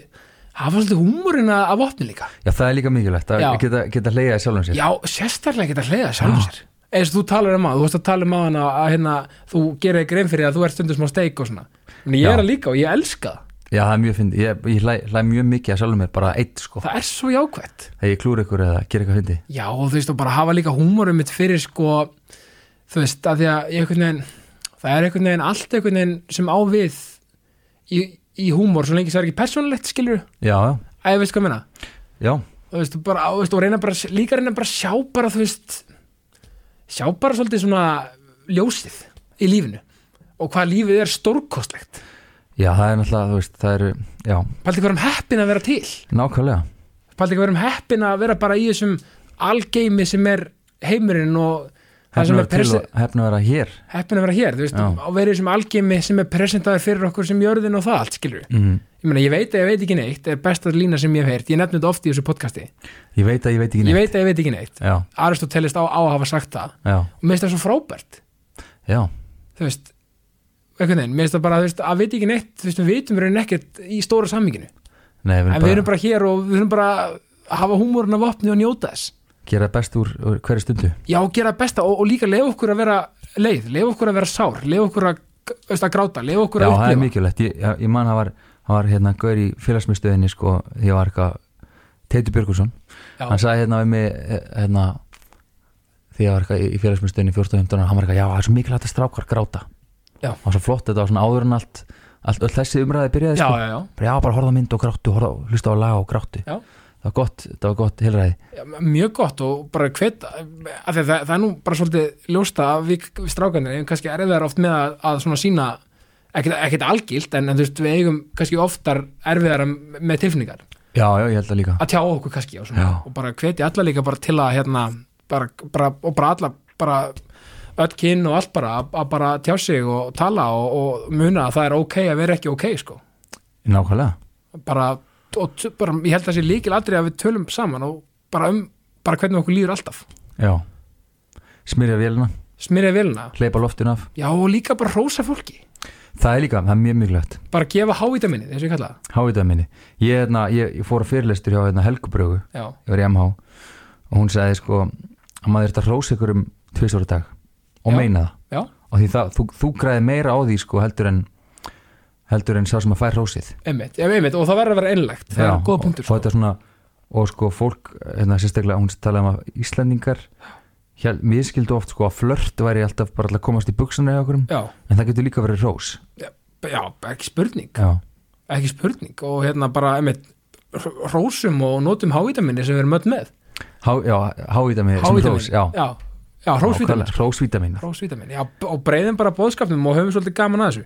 S1: hafa svolítið húmurinn að að vopni líka
S2: já, það er líka mikilvægt að
S1: Já.
S2: geta, geta leiða í sjálfum sér
S1: já, sérstaklega geta hleiða sjálfum sér eins og þú talar um að, þú veist að tala um að hana að hérna, þú gerir þig grein fyrir að þú ert stundum smá steik og svona, en ég
S2: Já.
S1: er að líka og ég elska það,
S2: Já, það er mjög fyndi, ég, ég hlæ, hlæ mjög mikið að sjálfum mér bara eitt sko,
S1: það er svo jákvætt
S2: þegar ég klúr ykkur eða gera eitthvað fyndi
S1: já, og þú veist, og bara hafa líka húmurinn mitt fyrir sko, þú veist, að því að ég einhvern veginn, það er einhvern veginn allt einhvern veginn sem á við í, í húmur, svo lengi sem það er ekki persónulegt skilur,
S2: Já, já,
S1: að ég veist hvað ég meina
S2: já,
S1: þú veist, bara, þú veist, og reyna bara líka reyna bara að sjá bara, þú veist sjá bara svolítið svona ljósið í lífinu og hvað lífið er stórkostlegt
S2: já, það er náttúrulega, þú veist, það eru, já,
S1: pælti hverjum heppin að um vera til
S2: nákvæmlega
S1: pældi ekki að vera um heppin að vera bara í þessum algeimi sem er heimurinn og það sem
S2: Hefnum
S1: er presi-
S2: að vera hér
S1: heppin að vera hér, þú veist,
S2: Já.
S1: og verið í þessum algeimi sem er presentaði fyrir okkur sem jörðin og það allt, skilur
S2: mm.
S1: Ég meina, ég veit að ég veit ekki neitt, er besta lína sem ég hef heyrt, ég nefnum þetta oft í þessu podcasti.
S2: Ég veit að ég veit ekki
S1: Ég
S2: neitt
S1: veit að ég veit ekki neitt.
S2: Já,
S1: Aristoteles á, á að hafa sagt það.
S2: já,
S1: Og mér finnst það svo frábært,
S2: já,
S1: þú veist, einhvern veginn, mér finnst það bara, þú veist, að veit ekki neitt, þú veist, við vitum raunin ekkert í stóra samminginu.
S2: nei, við erum
S1: En
S2: bara,
S1: við erum bara hér og við erum bara að hafa húmórun af opni og njóta þess.
S2: gera best úr, úr hverju stundu
S1: Já, gera besta og, og líka leif okkur að vera leið, leif okkur að vera sár, leif okkur að, þú veist, að gráta, leif okkur
S2: Já,
S1: að
S2: það er
S1: upplifa.
S2: mikilvægt, ég, ég- ég man það var, það var hérna gaur í félagsmyndstöðinni sko, ég var eitthvað Teitur Björgursson,
S1: Já.
S2: hann sagði hérna við mig eh, hérna, því ég var eitthvað í- í félagsmyndstöðinni 14-15 hann var eitthvað, já, það er svo mikilvægt að strákar gráta
S1: Já.
S2: og svo flott, þetta var svona áður en allt, allt öll þessi umræði byrjaði
S1: Já,
S2: sko.
S1: já, já.
S2: bara, já, bara horfa á mynd og gráttu horfa, á- hlusta á lag og gráttu
S1: Já.
S2: það var gott, það var gott heilræði
S1: Já, mjög gott og bara hvet að því að það, það er nú bara svolítið ljósta að við, við strákanir eigum kannski erfiðar oft með að, að svona sína ekkert, ekkert algilt en, en þú veist við eigum kannski oftar erfiðar með tilfinningar
S2: já, já, ég held það líka
S1: að tjá okkur kannski og, svona,
S2: Já.
S1: og bara hveti alla líka bara til að hérna bara, bara, og bara alla bara öll kyn og allt bara að, að bara tjá sig og tala og, og muna að það er ok að vera ekki ok sko
S2: nákvæmlega,
S1: bara, og, t- bara ég held að það sé líkil að við tölum saman og bara um bara hvernig okkur líður alltaf
S2: já smyrja vélina,
S1: smyrja vilna
S2: hleypa loftin af
S1: Já, og líka bara rósa fólki
S2: það er líka, það er mjög mikilvægt
S1: bara gefa hávitaminni, eins og ég kalla það
S2: hávitaminni ég, hérna, ég, ég fór að fyrirlestur hjá hérna, Helgubrögu
S1: Já,
S2: ég var í MH og hún sagði sko að maður þetta rósa ykkur um tvisvara dag og
S1: Já.
S2: meina það
S1: já,
S2: og því það, þú, þú græði meira á því sko heldur en heldur en sá sem að fær rósið
S1: einmitt, já, einmitt og það verður að vera einlegt, það
S2: Já,
S1: er góð punktur sko.
S2: og, og þetta er svona og sko fólk, hérna sérstaklega hún talaði um að Íslendingar hér, við skildu oft sko að flört væri alltaf bara alltaf að komast í buksana hjá okkur en
S1: Já,
S2: það getur líka verið rós
S1: já, ekki spurning
S2: já,
S1: ekki spurning og hérna bara einmitt hró- rósum og notum hávitaminni sem við erum öll með
S2: Há, já hávítamin sem rós
S1: já,
S2: já,
S1: já, já rósvitamin
S2: rósvítamin
S1: rósvitamin, já, b- og breyðum bara bóðskapnum og höfum svolítið gaman að þessu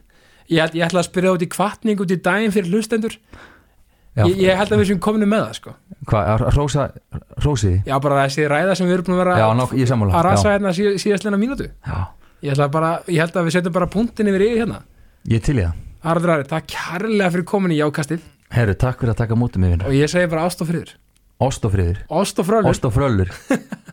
S1: Ég, held- ég ætla að spyrja út í kvartning út í daginn fyrir hlustendur
S2: já,
S1: ég, ég held að við sem kominu með það sko.
S2: hvað, að rósa rósiði
S1: Já, bara þessi ræða sem við erum búin að vera
S2: já, ná, ég sammála
S1: að rasa
S2: já,
S1: hérna síð, síðastleina mínútu
S2: já,
S1: Ég, ætla bara, ég held að við setjum bara punktin yfir yfir hérna
S2: ég til í það
S1: Harður Ari, takk kærlega fyrir komin í jákastið
S2: herru, takk fyrir að taka mútið mér vinur
S1: og ég segi bara ást og friður
S2: ost og friður,
S1: Ást og frölur
S2: ost og fröllur